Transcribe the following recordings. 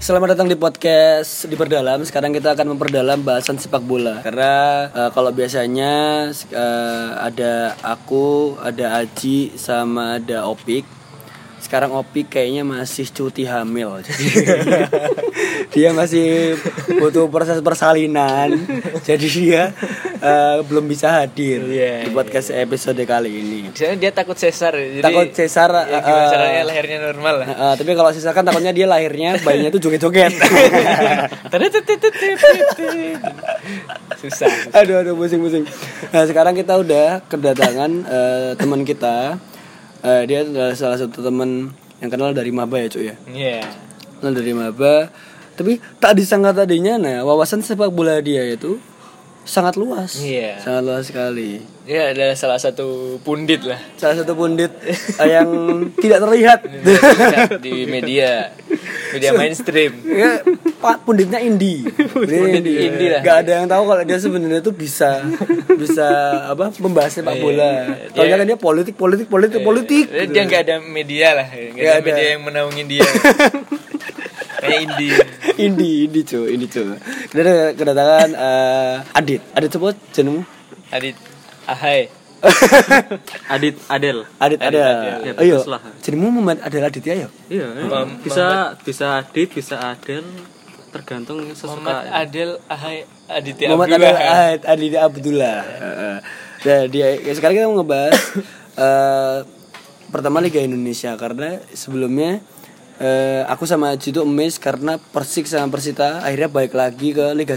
Selamat datang di podcast Diperdalam. Sekarang kita akan memperdalam bahasan sepak bola. Karena eh, kalau biasanya eh, ada aku, ada Aji, sama ada Opik. Sekarang Opik kayaknya masih cuti hamil. Jadi, dia masih butuh proses persalinan. Jadi dia eh, belum bisa hadir Iya, di podcast episode kali ini. Soalnya dia takut sesar, jadi Takut sesar, Ya, gimana eh, caranya lahirnya normal lah. Nah, eh, tapi kalau sisa kan takutnya dia lahirnya bayinya tuh joget-joget. Tadut, tut, tut, tut, tut, tut. Susah. aduh aduh pusing pusing nah sekarang kita udah kedatangan eh, teman kita Eh, dia adalah salah satu teman yang kenal dari maba ya cuy ya Iya. kenal dari maba tapi tak disangka tadinya nah wawasan sepak bola dia itu sangat luas Iya. sangat luas sekali Dia adalah salah satu pundit lah salah satu pundit eh, yang tidak terlihat Iya. di media media mainstream. Ya, Pak punditnya indie. Punditnya Pundit indie lah. Gak ada yang tahu kalau dia sebenarnya tuh bisa bisa apa membahas sepak bola. Taunya kan dia politik politik politik politik. Dia dia nggak ada media lah, nggak ada Nggak media ada. yang menaungin dia. Kayak indie. Indie indie cuy, indie cuy. Kita ada kedatangan eh, Adit. Adit sebut jenengmu? Adit, ahai. Adit Adel. Adit ada. Adit. Ayo. Ya, terserah. Jenengmu Muhammad Adel Adit ya, ayo. Iya, iya. Mem- bisa bisa Adit, bisa Adel, tergantung Muhammad sesuka. Adel Ahai Aditya Muhammad Abdullah. Adel Ad- Adit Abdullah. Heeh. Nah, dia ya, sekarang kita mau ngebahas eh, pertama Liga Indonesia karena sebelumnya eh, aku sama Aji itu emes karena Persik sama Persita akhirnya balik lagi ke Liga 1.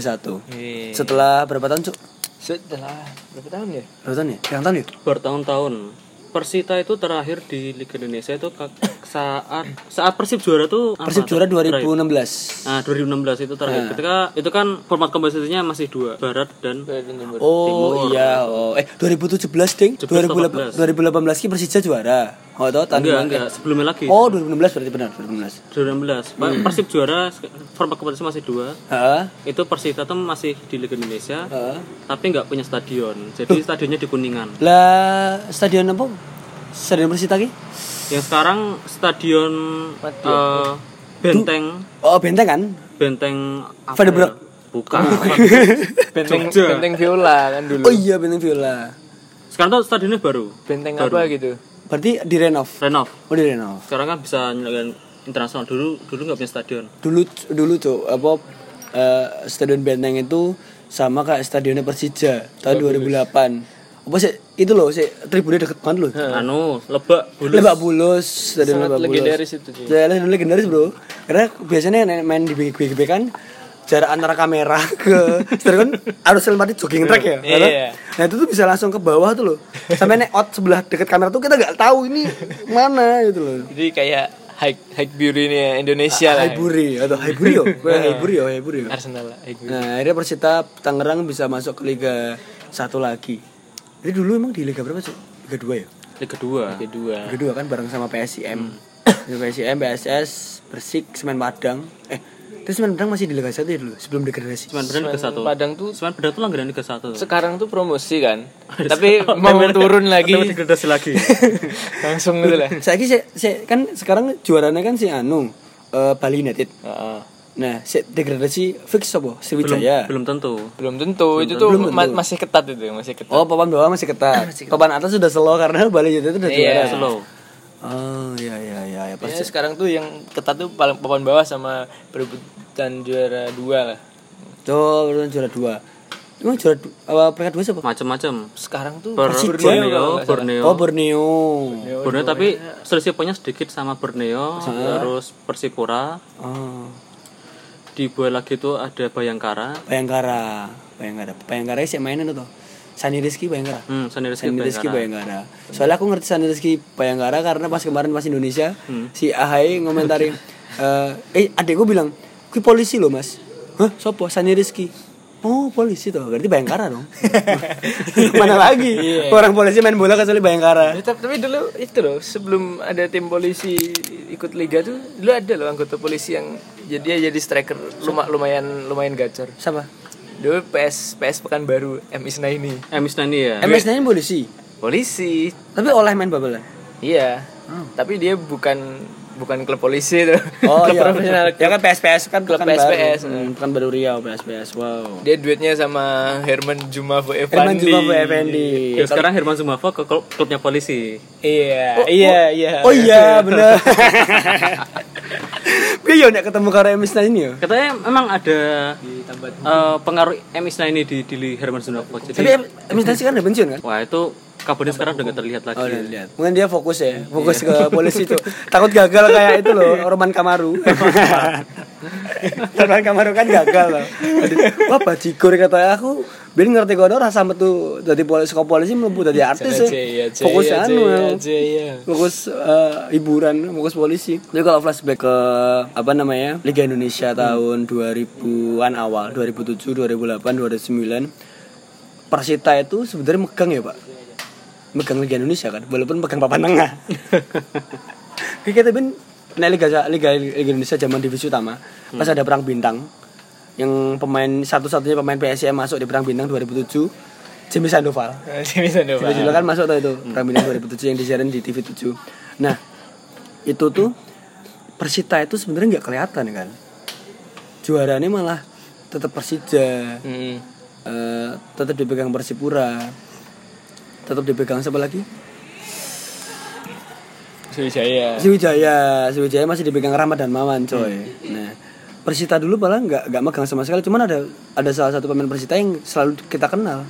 Iya. Setelah berapa tahun, Cuk? Setelah berapa tahun ya? Berapa tahun ya? Yang tahun ya? Bertahun-tahun. Persita itu terakhir di Liga Indonesia itu ka- saat saat Persib juara tuh apa? Persib juara 2016. Nah, 2016 itu terakhir. Ketika itu kan format kompetisinya masih dua, barat dan Oh iya, oh. eh 2017 ding, 2018 2018 ki Persija juara. Oh toh tahun enggak, kemarin. enggak, sebelumnya lagi. Oh 2016 berarti benar 2016. 2016. Pa- Persib juara se- format kompetisi masih dua. Heeh. Itu Persita tuh masih di Liga Indonesia, Heeh. tapi nggak punya stadion. Jadi stadionnya di Kuningan. Lah stadion apa? Stadion Persita ki? yang Ya, sekarang stadion eh, benteng Oh benteng kan? benteng apa Vaderbrug. ya? bukan Benteng Benteng Viola kan dulu. Oh iya benteng Viola. sekarang tuh stadionnya baru Benteng apa gitu? Berarti direnov. renov Oh direnov. sekarang kan bisa nyelenggaraan internasional dulu dulu nggak punya stadion Dulu dulu tuh apa eh, stadion benteng itu sama kayak stadionnya Persija tahun 2008. Apa sih itu loh sih tribunnya deket banget loh. Eh. anu lebak bulus Lebak Bulus, stadion Lebak Bulus. legendaris itu, cuy. Stadion Lebak legendaris, Bro. Karena biasanya yang main di BGB kan jarak antara kamera ke stadion kan harus selmati jogging track ya. Iya. karena- Nah, itu tuh bisa langsung ke bawah tuh loh. Sampai nek out sebelah deket kamera tuh kita nggak tahu ini mana gitu loh. Jadi kayak high high beauty nih Indonesia lah. ya. Haiburi atau Haiburi yo. Gue Haiburi yo, Haiburi yo. Arsenal lah, high beauty. Nah, akhirnya Persita Tangerang bisa masuk ke Liga 1 lagi. Jadi dulu emang di Liga berapa, Cuk? Liga 2 ya? liga dua Kedua. kedua kan bareng sama Hmm. PSIM Sama PSIM PSS Persik Semen Padang eh terus Semen Padang masih di Liga 1 ya dulu sebelum degradasi cuman benar liga satu Padang tuh cuman benar tuh langganan liga satu sekarang tuh promosi kan. Tapi mau turun lagi Tapi degradasi lagi langsung gitu lah. saya kira kan sekarang juaranya kan si Anu eh, Bali United Heeh. nah si degradasi fix apa Ya. Sriwijaya belum tentu Belum tentu, itu tuh ma- masih ketat itu, masih ketat. oh papan bawah masih ketat papan atas sudah slow karena Bali United sudah juara Iya. slow oh iya iya iya ya, pasti Ya, sekarang tuh yang ketat tuh paling papan bawah sama perebutan juara dua lah. oh belum juara dua emang juara du- apa peringkat dua siapa macam-macam Sekarang tuh Bor- Borneo Borneo oh Borneo Borneo tapi ya. selisih poinnya sedikit sama Borneo, Ah. terus Persipura. oh Di bawah lagi itu ada Bayangkara. Bayangkara Bayangkara Bayangkara sih mainan tuh Sani Rizky Bayangkara Hmm, sendiri Sandi Rizky Bayangkara. Soalnya aku ngerti Sandi Rizky Bayangkara karena pas kemarin pas Indonesia si Ahai ngomentari eh, eh adek gue bilang, "Ki polisi loh, Mas." Hah, sopo Sandi Rizky? Oh, polisi toh. Berarti Bayangkara dong. Mana lagi? Orang polisi main bola kecuali Bayangkara. Ya, tapi, tapi dulu itu loh sebelum ada tim polisi ikut liga tuh dulu ada loh anggota polisi yang jadi dia jadi striker luma- lumayan lumayan gacor. Siapa? Dulu PS PS Pekanbaru M Isnaini Emis Nani ya. MS nya polisi. polisi. Tapi oleh main babelan. Iya. Tapi dia bukan bukan klub polisi tuh. Hmm. Oh klub iya. profesional. Ya kan PSPS kan Klub kan baru. PSPS, Hmm, kan baru Riau PSPS. Wow. Dia duetnya sama Herman Jumavo Effendi. Herman juga Bu Effendi. Ya, sekarang Herman Sumafo ke klub- klubnya polisi. Iya, iya, iya. Oh iya bener. Piye yo nek ketemu karo Emis ini ya? yo. Katanya memang ada eh, pengaruh M Isna ini di di Herman Sumafo. Tapi Jadi Emis Nasi kan udah pensiun kan? wah itu kabarnya sekarang udah nggak terlihat lagi. Oh, udah lihat. Mungkin dia fokus ya, fokus ke polisi itu. Takut gagal kayak itu loh, Roman Kamaru. Roman Kamaru kan gagal loh. Jadi, wah bajigur kata aku, ben ngerti kono rasa metu dari polisi ke polisi mlebu dadi artis ya. Fokus anu. ya. fokus eh, hiburan fokus polisi jadi kalau flashback ke apa namanya Liga Indonesia tahun 2000-an awal 2007 2008 2009 Persita itu sebenarnya megang ya pak megang Liga Indonesia kan walaupun megang papan tengah Kayak kita ben nah, Liga, Liga Liga Indonesia zaman divisi utama pas ada perang bintang yang pemain satu-satunya pemain PSM masuk di perang bintang 2007 Jimmy Sandoval Jimmy Sandoval. Tiba-tiba kan masuk tuh itu Perang Bintang 2007 yang disiarin di TV 7 Nah itu tuh Persita itu sebenarnya nggak kelihatan kan Juaranya malah tetap Persija Hmm. eh, Tetap dipegang Persipura Tetap dipegang siapa lagi? Sriwijaya. Sriwijaya Sriwijaya masih dipegang Rahmat dan Mawan Hmm. coy Nah Persita dulu malah nggak nggak megang sama sekali cuman ada ada salah satu pemain Persita yang selalu kita kenal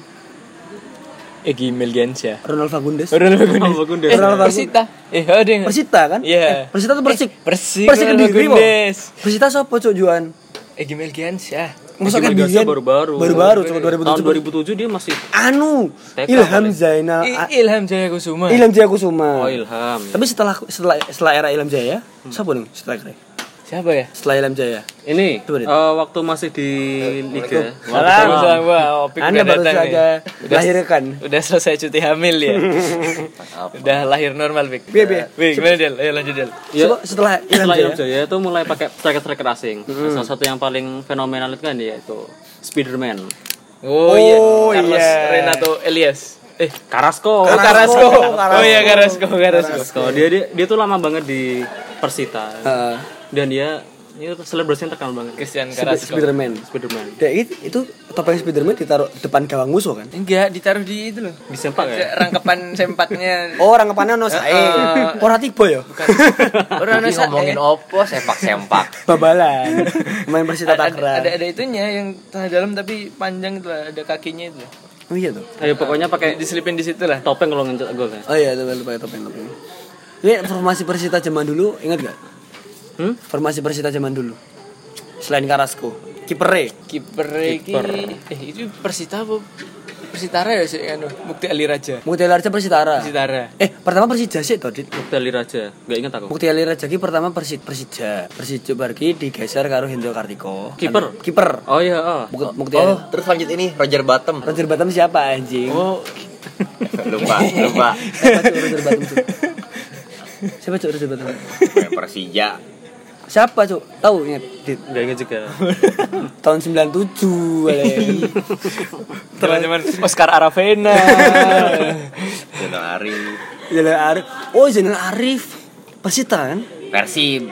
Egi Melgiansyah. Ronald Fagundes Ronald Bagundes. Ronald Bagundes. Eh, Ronald Bagundes. Persita. Eh, oh, dia nggak- Persita kan? Iya. Eh, Persita tuh Persik. Eh, Persik, Persik kan Ronald Kediri, Mo. Bagundes. Persita siapa cok Juan? Egi Melgiansyah. Masuknya Egi Melgiansyah Kedirian. baru-baru. Baru-baru cok Tahun 2007. 2007 dia masih Anu, TK Ilham paling. Zainal, A- I- Ilham Jaya Kusuma. Ilham Jaya Kusuma. Oh Ilham. Tapi setelah setelah setelah era Ilham Jaya, siapa dong striker? Siapa ya? Setelah Ilham Jaya. Ini Coba deh. eh, waktu masih di liga. Salam, salam gua. Opik Anda udah baru datang nih. saja Udah, lahirkan. udah selesai cuti hamil ya. udah lahir normal, Bik. Biar, biar. Bik, gimana Del? Ayo lanjut Del. Ya, Coba setelah Ilham Jaya. setelah Hmm. Ilham Jaya itu mulai pakai striker-striker asing. Salah satu yang paling fenomenal itu kan dia itu Spiderman. Oh, iya. Oh, Carlos iya. Renato Elias. Eh, oh, Carrasco. Carrasco. Carrasco. Oh iya, Carrasco, Carrasco. Carrasco. Dia, dia dia tuh lama banget di Persita. Heeh. Dan dia itu selebrasinya terkenal banget. Christian Carrasco. Spiderman. Spiderman. Ya, itu, itu topeng Spiderman ditaruh depan gawang musuh kan? Enggak, ditaruh di itu loh. Disempak ya? Rangkapan sempatnya. Oh, orang kepannya ono sae. Ora tiba ya? Orang eh, Ini ngomongin opo sepak-sempak. Babalan. Main Persita ada, ada, Tangerang. ada ada itunya yang tanah dalam tapi panjang itu lah, ada kakinya itu. lah. Oh iya tuh. Ayo pokoknya pakai Diselipin di situ lah. topeng kalau ngencet gol kan. Oh iya, lupa lupa topeng topeng. Ini formasi Persita zaman dulu, ingat gak? Hmm? Formasi Persita zaman dulu. Selain Carrasco, kiper E. Kiper iki eh itu Persita apa? Persitara ya sih anu, Bukti Ali Raja. Mukti Larja Persitara. Persitara. Eh, pertama Persija sih tuh, Dit. Bukti Raja. Enggak ingat aku. Mukti Ali Raja ki pertama Persi Persija. Persija barki digeser karo Hendro Kartiko. Anu, Kiper? Kiper. Oh iya, oh. Muk- Mukti Ali. Oh, terus lanjut ini Roger Bottom. Roger Batam siapa anjing? Oh, Lupa, lupa. Siapa Cuk, Roger Batam? Cuk? Siapa Cuk Roger Batam? Persija. Siapa Cuk? Tahu ingat, Dit. Enggak ingat juga. Tahun 97 Ale. terus cuman Oscar Aravena. Jono Ari. Zainal Arif. Oh, Zainal Arif. Persita kan? Persib.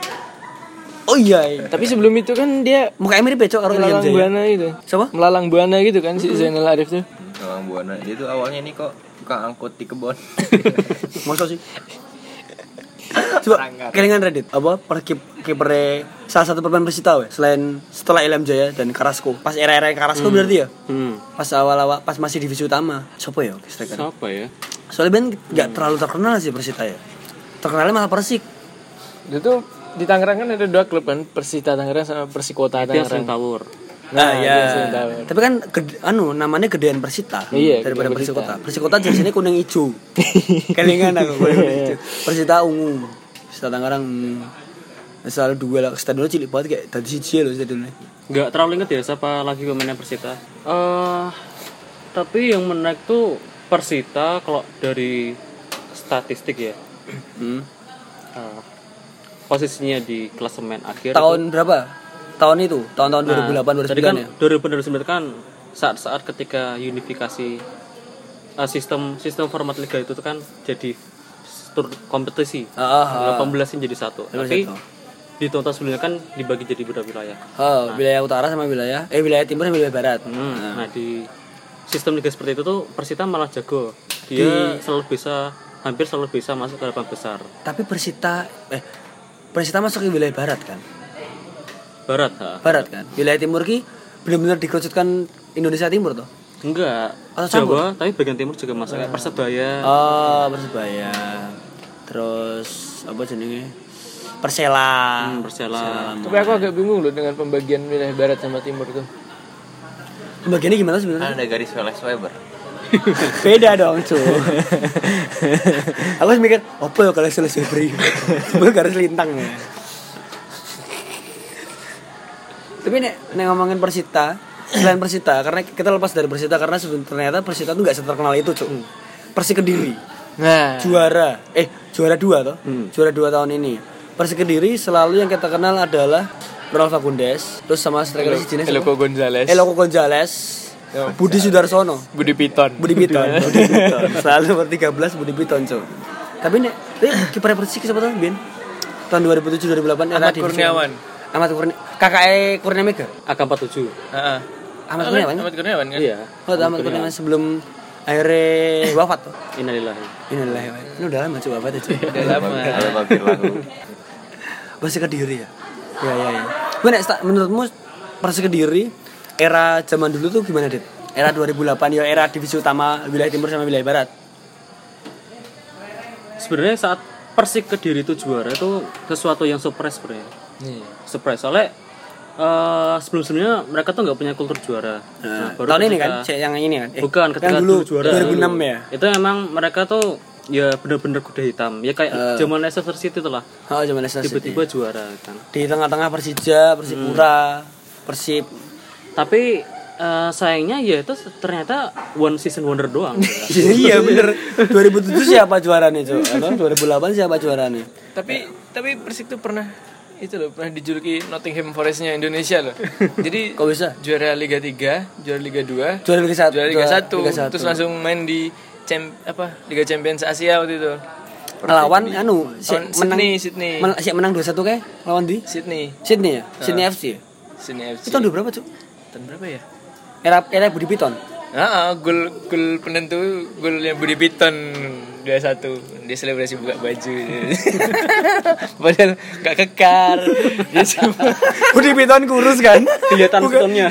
Oh iya. iya. tapi sebelum itu kan dia Mukanya mirip becok karo William melalang Jaya. buana itu. Siapa? Melalang buana gitu kan si Zainal Arif tuh. Bang Buana. Dia tuh awalnya ini kok tukang angkut di kebon. Masa sih? Coba kelingan Reddit apa per kip- kipernya salah satu pemain Persita weh selain setelah Ilham Jaya dan Carrasco. Pas era-era Carrasco berarti ya? Hmm. Pas awal-awal pas masih divisi utama. Siapa ya striker? Siapa ya? Soalnya Ben nggak terlalu terkenal sih Persita ya. Terkenalnya malah Persik. Itu tuh di Tangerang kan ada dua klub kan, Persita Tangerang sama Persikota Dia Tangerang. sering tawur. Nah, iya, sering tahu. Tapi kan gede- anu namanya gedean Persita Iya, daripada gedean Persikota. Persikota jersey kuning hijau. Kelingan aku kuning hijau. Persita ungu. Persita Tangerang hmm. soal dua lah stadion cilik banget kayak tadi siji loh stadionnya. Enggak terlalu inget ya siapa lagi pemainnya Persita. Eh tapi yang menarik tuh Persita kalau dari statistik ya. Hmm. eh, posisinya di klasemen akhir. Tahun berapa? Tahun itu, tahun-tahun Nah, 2008 2009 tadi kan ya. 2009 kan saat-saat ketika unifikasi eh, sistem sistem format liga itu tuh kan jadi tur kompetisi Ah, ah, ah. 18 ini jadi satu tapi satu. di total sebelumnya kan dibagi jadi beberapa wilayah Oh, wilayah utara sama wilayah eh wilayah timur sama wilayah barat. Hmm, nah di sistem liga seperti itu tuh Persita malah jago dia selalu bisa hampir selalu bisa masuk ke delapan besar Tapi Persita eh Persita masuk ke wilayah barat kan? barat ha? Barat kan. Wilayah timur ki benar-benar dikerucutkan Indonesia Timur tuh. enggak Atau Jawa tapi bagian timur juga masuk kayak persebaya Oh, Persebaya. Terus apa jenenge? Persela. Persela Tapi aku agak bingung loh dengan pembagian wilayah barat sama timur tuh. Bagiannya gimana sebenarnya? Kan ada garis Weles Weber. Beda dong, cu. Aku harus mikir, apa ya kalau selesai beri? Sebenarnya garis lintang ya. Tapi nek, nek ngomongin Persita, selain Persita, karena kita lepas dari Persita karena sebenarnya ternyata Persita tuh nggak seterkenal itu, cu. Persi Kediri. Nah, juara eh Hmm. juara dua toh juara dua tahun ini Persi Kediri selalu yang kita kenal adalah Ronald Fagundes terus sama striker si jenis Eloko Gonzales, Eloko Gonzales Budi Sudarsono Budi Piton. Nah. Iya. Budi Piton Budi Piton. selalu bertiga belas Budi Piton cuy tapi nek eh, kiper Persi siapa tuh Bin tahun 2007 2008 era Ahmad divisi- Kurniawan. Ahmad Kurniawan kakak Kurnia Mega AK47 Heeh. Ahmad Kurniawan kan? Ahmad Kurniawan kan? iya oh Ahmad Kurniawan sebelum akhirnya wafat tuh Innalillahi Inilah, ini udah lama coba wafat aja. Udah lama. Ada vampir lagu. Persi Kediri ya? Ya ya ya. Gue nek sta- menurutmu Persi Kediri era zaman dulu tuh gimana, Dit? Era 2008 ya era divisi utama wilayah timur sama wilayah barat. sebenarnya saat Persik Kediri itu juara itu sesuatu yang surprise sebenarnya. Iya. Surprise soalnya eh sebelum sebelumnya mereka tuh nggak punya kultur juara. Nah, baru Tahun ini ketika- kan Cek yang ini kan? Eh, Bukan ketika yang dulu, juara 2006 ya. Itu emang mereka tuh ya bener-bener kuda hitam. Ya kayak zaman Leicester City itu lah. Oh, zaman Eh. Leicester City. Tiba-tiba juara kan. Di tengah-tengah Persija, Persipura, Hmm. Persib. Tapi eh, sayangnya ya itu ternyata one season wonder doang. iya bener 2007 siapa juaranya cuy? Atau 2008 siapa juaranya? Tapi tapi Persik tuh pernah itu loh pernah dijuluki Nottingham Forestnya Indonesia loh. Jadi Kok bisa? juara Liga 3, juara Liga 2, Juara Liga 1. juara Liga 1, terus langsung main di Champ- apa Liga Champions Asia waktu itu. lawan anu si, Lawan menang Sydney, Sydney. men- si menang 2-1 kayak lawan di Sydney, Sydney ya? Sydney FC ya? Sydney FC. Itu tahun berapa cuy? Tahun berapa ya? Era era Budi Piton. Heeh, gol gol penentu golnya Budi Piton 2-1. Dia selebrasi buka baju. Padahal gak kekar. Dia cuma Budi Piton kurus kan? Kelihatan Bukan. pitonnya.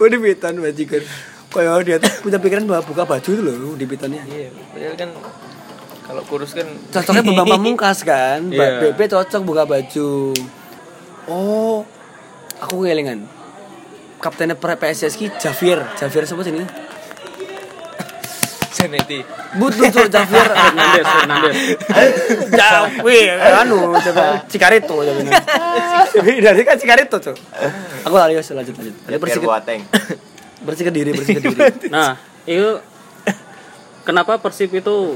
Budi Piton bajikan. Kayak dia tuh punya pikiran bahwa buka baju itu loh Budi Pitonnya. Iya, padahal kan kalau kurus kan Cocoknya Bambang Pamungkas kan? Ba- Iya. BP cocok buka baju. Oh, aku kelingan. Kaptennya per PSSI Javier, Javier siapa sih ini? Zanetti. Butuh tuh Javier. Fernandes, Fernandes. Iya, Javier, anu, coba Cikarito jadinya. Dari kan Cikarito tuh. Aku lari lanjut lanjut. Ada Ada Pierre bersih Boateng. bersih ke diri, bersih ke diri. Nah, itu kenapa Persib itu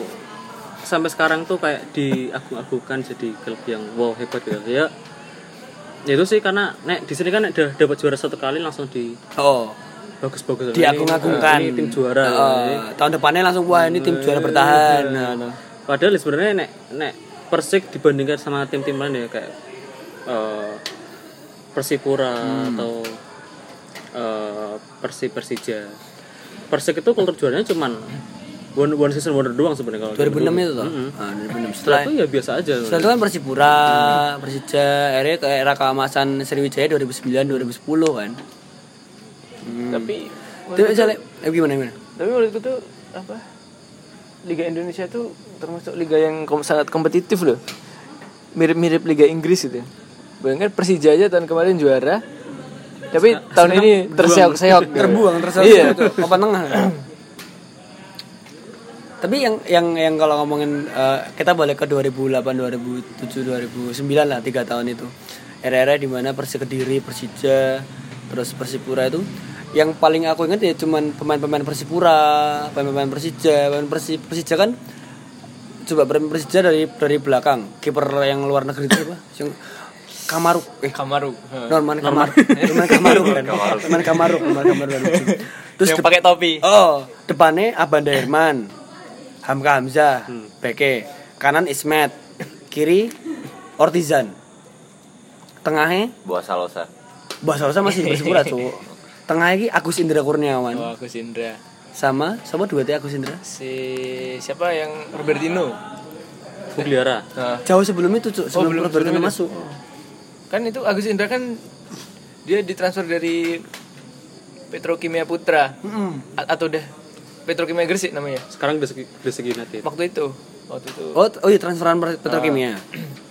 sampai sekarang tuh kayak diagung-agungkan jadi klub yang wow hebat gitu ya. Ya itu sih karena nek di sini kan nek udah dapat juara satu kali langsung di Oh, bagus-bagus diagung-agungkan Ini Iya, tim juara. Heeh. tahun depannya langsung wah ini tim juara bertahan Nah, nah. Padahal sebenarnya nek nek Persik dibandingkan sama tim-tim lain ya kayak eh, Persipura Hmm. atau eh, Persi Persija. Persik itu kultur juaranya cuman one, one season wonder doang sebenarnya kalau gitu. 2006 itu toh Mm-mm. Ah, 2006 setelah Setelah itu ya biasa aja. setelah itu kan Persipura Persija akhirnya ke era keemasan Sriwijaya 2009 2010 kan Mm. Tapi tapi misalnya eh, gimana gimana tapi menurutku tuh apa? Liga Indonesia tuh termasuk liga yang kom- sangat kompetitif loh. Mirip-mirip Liga Inggris gitu. Bayangkan Persija aja tahun kemarin juara. Tapi tahun ini terseok-seok. gitu. terbuang terus Iya. itu papan tengah tapi yang yang yang kalau ngomongin eh, kita balik ke 2008 2007 2009 lah tiga tahun itu era-era di mana Persi Kediri Persija terus Persipura itu yang paling aku ingat ya cuman pemain-pemain Persipura pemain-pemain Persija pemain Persi- Persija kan coba pemain Persija dari dari belakang kiper yang luar negeri itu apa Yang- Kamaru eh Kamaru. Heeh. Norman Kamaru Norman Kamaru kan Norman Kamaru Norman Kamaru terus yang pakai topi. Oh, depannya Abanda Herman. Hamka Hamzah, Beke, kanan Ismet, kiri Ortizan. Tengahnya Buah Salosa. Basalosa masih di Persipura, Cuk. Tengahnya iki Agus Indra Kurniawan Oh, Agus Indra. sama sama dua teh Agus Indra. Si siapa yang Robertino? Bugliara. Jauh sebelum itu, Cuk, sebelum belum- Roberto sebelum itu. masuk. Kan itu Agus Indra kan dia ditransfer dari Petrokimia Putra. A- atau deh Petrokimia Gresik namanya. Sekarang Gresik Gresik United. Waktu itu. Waktu itu. Oh, t- oh iya transferan per- petrokimia.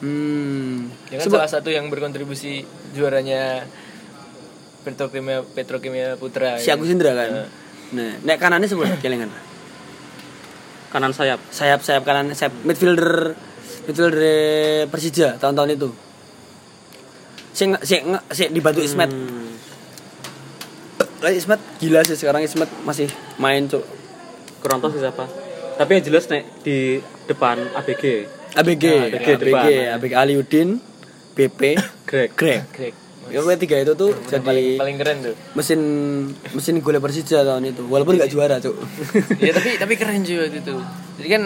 Hmm. Dia kan salah satu yang berkontribusi juaranya Petrokimia Petrokimia Putra. ya. Si Agus Indra Iya. kan. Nah, nek kanannya sebut kelingan. Kanan sayap. Sayap-sayap kanan sayap midfielder midfielder Persija tahun-tahun itu. Sing sing sing dibantu Ismet. Hmm. Lah, Ismet gila sih sekarang Ismet masih main, Cuk. Kurang tahu sih siapa. Tapi yang jelas nek di depan ABG ABG, ABG ABG, ABG, depan. Aliudin, BP, Greg. Greg. Greg. Ya, pokoknya tiga itu tuh Paling jadi paling keren tuh. mesin mesin golnya Persija tahun itu walaupun nggak juara cuk ya tapi tapi keren juga waktu itu jadi kan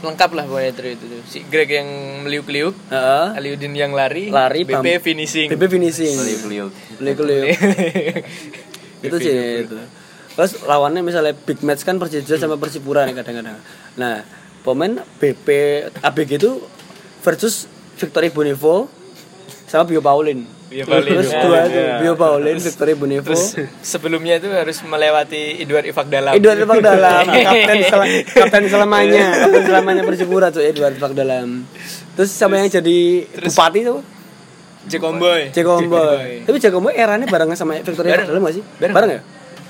lengkap lah pokoknya trio itu tuh. si Greg yang meliuk-liuk Heeh. Aliudin yang lari lari BP bam- finishing BP finishing Beliau Beliau-beliau. itu sih itu terus lawannya misalnya big match kan Persija sama Persipura nih kadang-kadang nah pemain BP ABG itu versus Victory Bonivo sama Bio Paulin Bio Paulin. terus Bio dua Paulin, tuh ya. Bio Paulin Victory Bonivo sebelumnya itu harus melewati Edward Ifak Dalam Edward Pak Eh, Dalam, Iya. kapten sel- kapten selamanya, kapten selamanya Persipura tuh Edward Pak Dalam. Terus siapa yang jadi bupati tuh? Jekomboy Jakomboy. Tapi Jakomboy eranya barengan sama Victoria Park Dalam gak sih? Bareng, ya?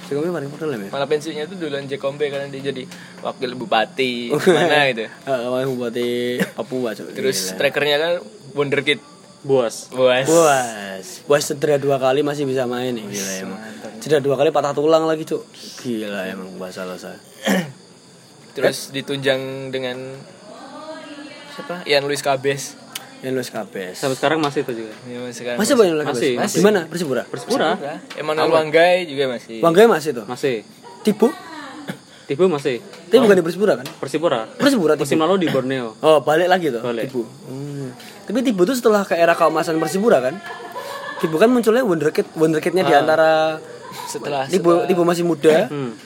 Jakomboy bareng Park Dalam ya? malah pensiunnya tuh duluan Jekomboy karena dia jadi wakil bupati mana gitu Heeh, uh, bupati Papua coy. terus strikernya kan Wonderkid Buas. Buas Buas, Buas cedera dua kali masih bisa main nih. Gila emang. Cedera dua kali patah tulang lagi, Cuk. Gila emang Buas salah saya. terus ditunjang dengan siapa Ian Luis Cabes Yang Luis Kabes. Sampai sekarang masih itu juga. Ya, sekarang Ya, Masih banyak lagi. Masih, Mas? masih. Di mana? Persipura. Persipura. Emmanuel Wanggai juga masih Banggai masih tuh. Masih. Tibu? Tibu masih. Tapi bukan di Persipura kan? Persipura. Persipura Tibu. Musim lalu di Borneo. Oh, balik lagi tuh. Balik. Tibu. Hmm. Tapi Tibu tuh setelah ke era keemasan Persipura kan? Tibu kan munculnya wonderkid, wonderkidnya di antara setelah Tibu, Tibu masih muda. Hmm.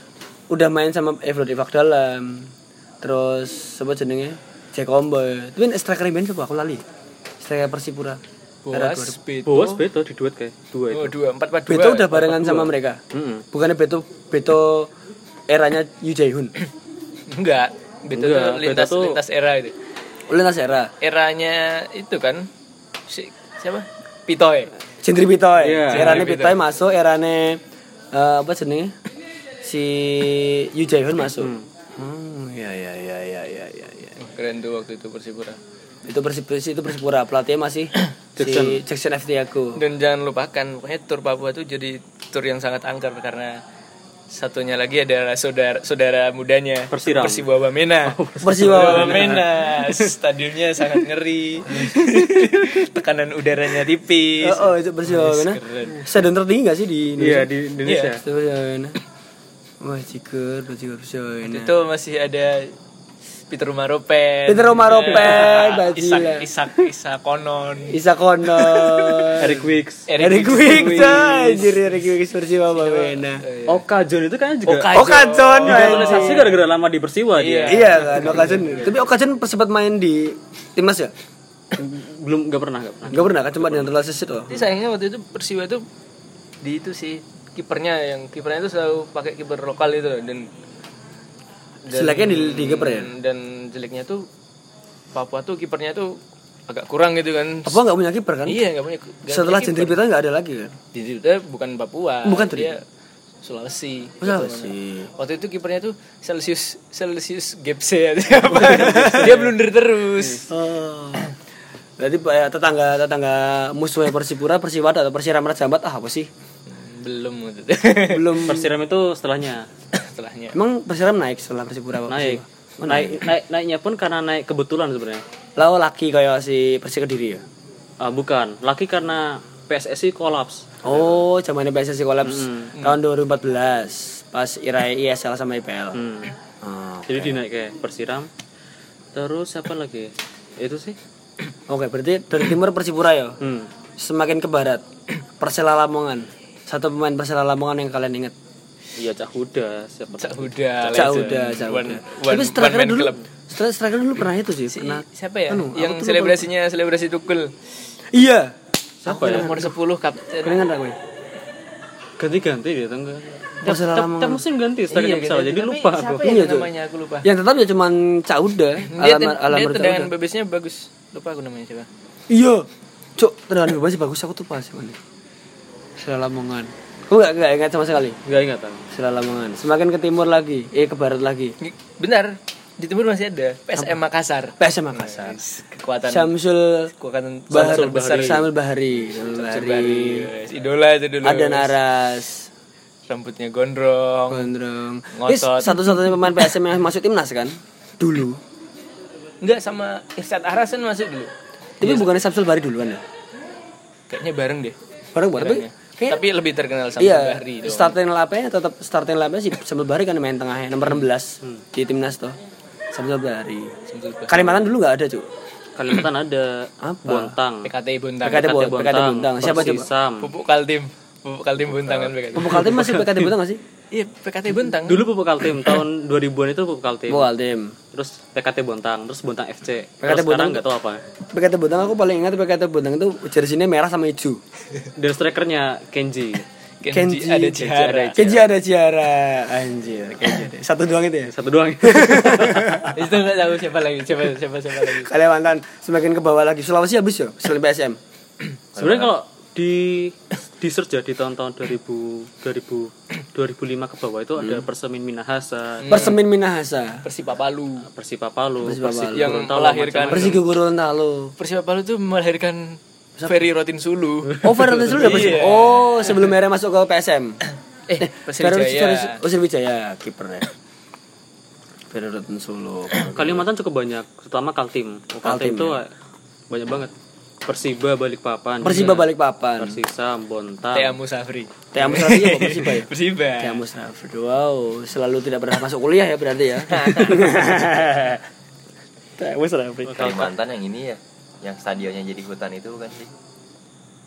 Udah main sama Evlod Ivak dalam. Terus siapa jenenge? Jack Omboy. Tapi striker band siapa? Aku lali. Striker Persipura. Era Boas, Beto, Buas beto Oh, di duet kayak dua itu. Hmm. oh, dua empat empat dua. Beto udah barengan sama mereka. Mm-mm. Bukannya Beto Beto eranya Yu Jae-hoon. enggak. Beto Enggak, tuh Beto lintas tuh- lintas era itu. Lintas era. Eranya itu kan si, siapa? Pitoy. Cindri Bitoy. Iya. Erane Bitoy masuk, erane eh, apa jenenge? Si Yu Jae-hoon masuk. Hmm, ya ya ya ya ya ya. ya. Keren tuh waktu itu Persipura. Itu Persipura, itu Persipura. Pelatihnya masih si Jackson F. Tiago. Dan jangan lupakan, pokoknya tur Papua tuh jadi tur yang sangat angker karena satunya lagi adalah saudara saudara mudanya Oh, Persiram. Persibawa Wamena. Persiwa. Wamena. Stadionnya sangat ngeri. Tekanan udaranya tipis. Oh, oh, itu Persiwa mana? Stadion tertinggi gak sih di Indonesia? Iya di Indonesia. Itu Persiwa mana? kan? Wah, cikur, kan? cikur Persiwa mana? itu masih ada Peter Maropen Peter Maropen, Iya. Isak Bajila. Isak Isak Konon Isa Konon. Eric Wicks. Eric Wicks, anjir Eric Wicks Persiwa Wamena. Iya. Oka John itu kayaknya juga Oh, kacon, naturalisasi gara-gara lama di Persiwa dia. Iya kan, Okajen. Tapi Okajen pers- sempat main di timnas ya? Belum nggak pernah nggak pernah. Enggak pernah kan cuma di naturalisasi doang. Tapi sayangnya waktu itu Persiwa itu di itu sih kipernya yang kipernya itu selalu pakai kiper lokal itu loh. dan Jeleknya di Liga Per ya. dan jeleknya tuh Papua tuh kipernya tuh agak kurang gitu kan Apa enggak punya kiper kan? iya nggak punya nggak Setelah punya Jendri Pita enggak ada lagi kan? kiper. Jadi dia bukan Papua Bukan Oh, tuh dia Sulawesi gitu Masa sih? Waktu itu kipernya tuh Celsius Celsius Gepse atau apa. Dia blunder terus. Oh. Berarti eh, tetangga tetangga musuhnya Persipura, Persiwa atau Persiram Raja Ampat ah apa sih? Belum waktu itu. Belum. Persiram itu setelahnya Setelahnya. Emang Persiram naik setelah Persipura apa? naik. Naik, naik naiknya pun karena naik kebetulan sebenarnya. Lalu laki oh, kayak si Persi Kediri ya. Ah, bukan, laki karena PSSI kolaps. Oh, Hmm. zamannya PSSI kolaps tahun 2014 pas Irai ISL sama IPL. Oh. Jadi dinaik kayak Persiram. Terus apa lagi? Itu sih. Oke, berarti dari timur Persipura ya. Hmm. Semakin ke barat, Persela Lamongan. Satu pemain Persela Lamongan yang kalian ingat. Iya Cak Huda siapa? Cak Huda. Cak legend. Uda, Cak eh, One- Uda. one- Tapi one striker man dulu, club. stri- striker dulu pernah itu sih, pernah. Siapa ya? Anu, aku yang tuh selebrasinya selebrasi tukul. Iya. Siapa ya? Nomor 10 kapten. Kalian ingat gue? Ganti-ganti dia tangga. Persela Tiap Lamongan. musim ganti strikernya Iya, ganti. pesawat. Jadi Tapi lupa siapa aku. ya Iya, Cuk. namanya aku lupa. Yang tetap ya cuman Cak Uda, Dia, alam ten- alam dia Cak tendangan Uda. bebasnya bagus. Lupa aku namanya siapa. Iya. Cuk, tendangan bebas sih bagus aku tuh pas ini. Persela Lamongan. Aku enggak enggak ingat sama sekali. Enggak ingat aku. Persela Lamongan. Semakin ke timur lagi, eh ke barat lagi. Benar. Di timur masih ada PSM Makassar. PSM Makassar. Kekuatan Syamsul kekuatan Bahar, Samsul besar. Syamsul Bahari. Syamsul Bahari. Yes, Idola itu dulu. Ada Naras. Rambutnya gondrong. Gondrong. Ini Ngotot. satu-satunya pemain PSM yang masuk timnas kan? Dulu. Enggak sama Irsyad Arasan masuk dulu. Tapi Iya. bukannya Samsul Bahari duluan ya? Kayaknya bareng deh. Bareng bareng. Tapi, kayak- Tapi lebih terkenal Samsul iya, Bahri dong. starting line-nya tetap starting line-nya sih Samsul Bahari kan main tengahnya nomor Hmm. 16 di timnas tuh. Samsul Bahari. Samsul Bahri. Kalimantan dulu nggak ada, Cuk. Kalimantan ada Apa? Bontang. PKTI Buntang. PKT Bo- PKT Bontang. Siapa coba? Persisam. Pupuk Kaltim. Pupuk Kaltim Buntang kan PKTI. Pupuk Kaltim masih PKT Bontang nggak sih? Iya, PKTI Buntang. Dulu Pupuk Kaltim tahun 2000-an itu Pupuk Kaltim. Pupuk Kaltim. Terus PKT Bontang, terus Bontang FC. PKT terus sekarang Bontang- nggak tahu apa. PKT Bontang aku paling ingat PKT Bontang itu jersinya merah sama hijau. Dan strikernya Kenji. Kenji, ada Jihara. Kenji ada Ciara. Anjir. Satu doang itu ya. Satu doang. Itu enggak tahu siapa lagi, siapa siapa siapa lagi. Kalimantan semakin ke bawah lagi. Sulawesi habis ya selain PSM. Sebenarnya kalau di di search ya di tahun-tahun 2000 2000 2005 ke bawah itu ada Persemin Minahasa, Hmm. Persemin Minahasa. Persipa Palu. Persipa Palu, Persiba Persi- Palu. Yang Gorontalo, melahirkan Persigo Gorontalo. Persipa Palu tuh melahirkan Ferry Rotin Sulu. Oh, Fernandes dulu udah Persib. Iya. Oh, sebelum mereka masuk ke PSM. Eh, Persijaya. Oh, Sriwijaya kipernya. Ferroton ya. Solo. Kalimantan cukup banyak, terutama Kaltim. Oh, Kaltim, Kaltim, ya. itu eh, banyak banget. Persiba Balikpapan. Iya. Persiba juga. Balikpapan. Persisam, Bontang. Tea Musafri. Teh Musrafri ya, Pak, Persiba ya. Teh Persiba. Musrafri. Wow, selalu tidak pernah masuk kuliah ya berarti ya. Teh Musrafri. Kalimantan yang ini ya yang stadionnya jadi hutan itu bukan sih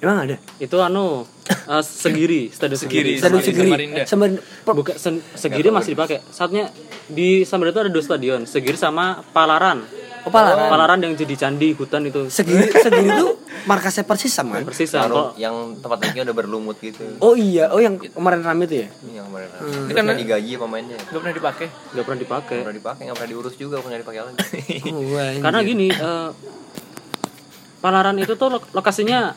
Emang ada? Itu anu eh, segiri, stadion segiri. Stadion Stadion Samarinda. Segiri. Samarinda. Sama Bukan sen- segiri masih dipakai. Saatnya di Samarinda itu ada dua stadion, segiri sama Palaran. Oh, Palaran. Palaran yang jadi candi hutan itu. Segiri, Segiri itu markasnya persis sama kan? Persisam. yang, Kalau yang tempat latihannya udah berlumut gitu Oh iya, oh yang kemarin rame itu ya? ini yang kemarin itu kan digaji pemainnya Enggak pernah dipakai. nggak pernah dipakai nggak pernah dipakai nggak pernah diurus juga pernah dipakai lagi Karena karena gini eh, Palaran itu tuh lo- lokasinya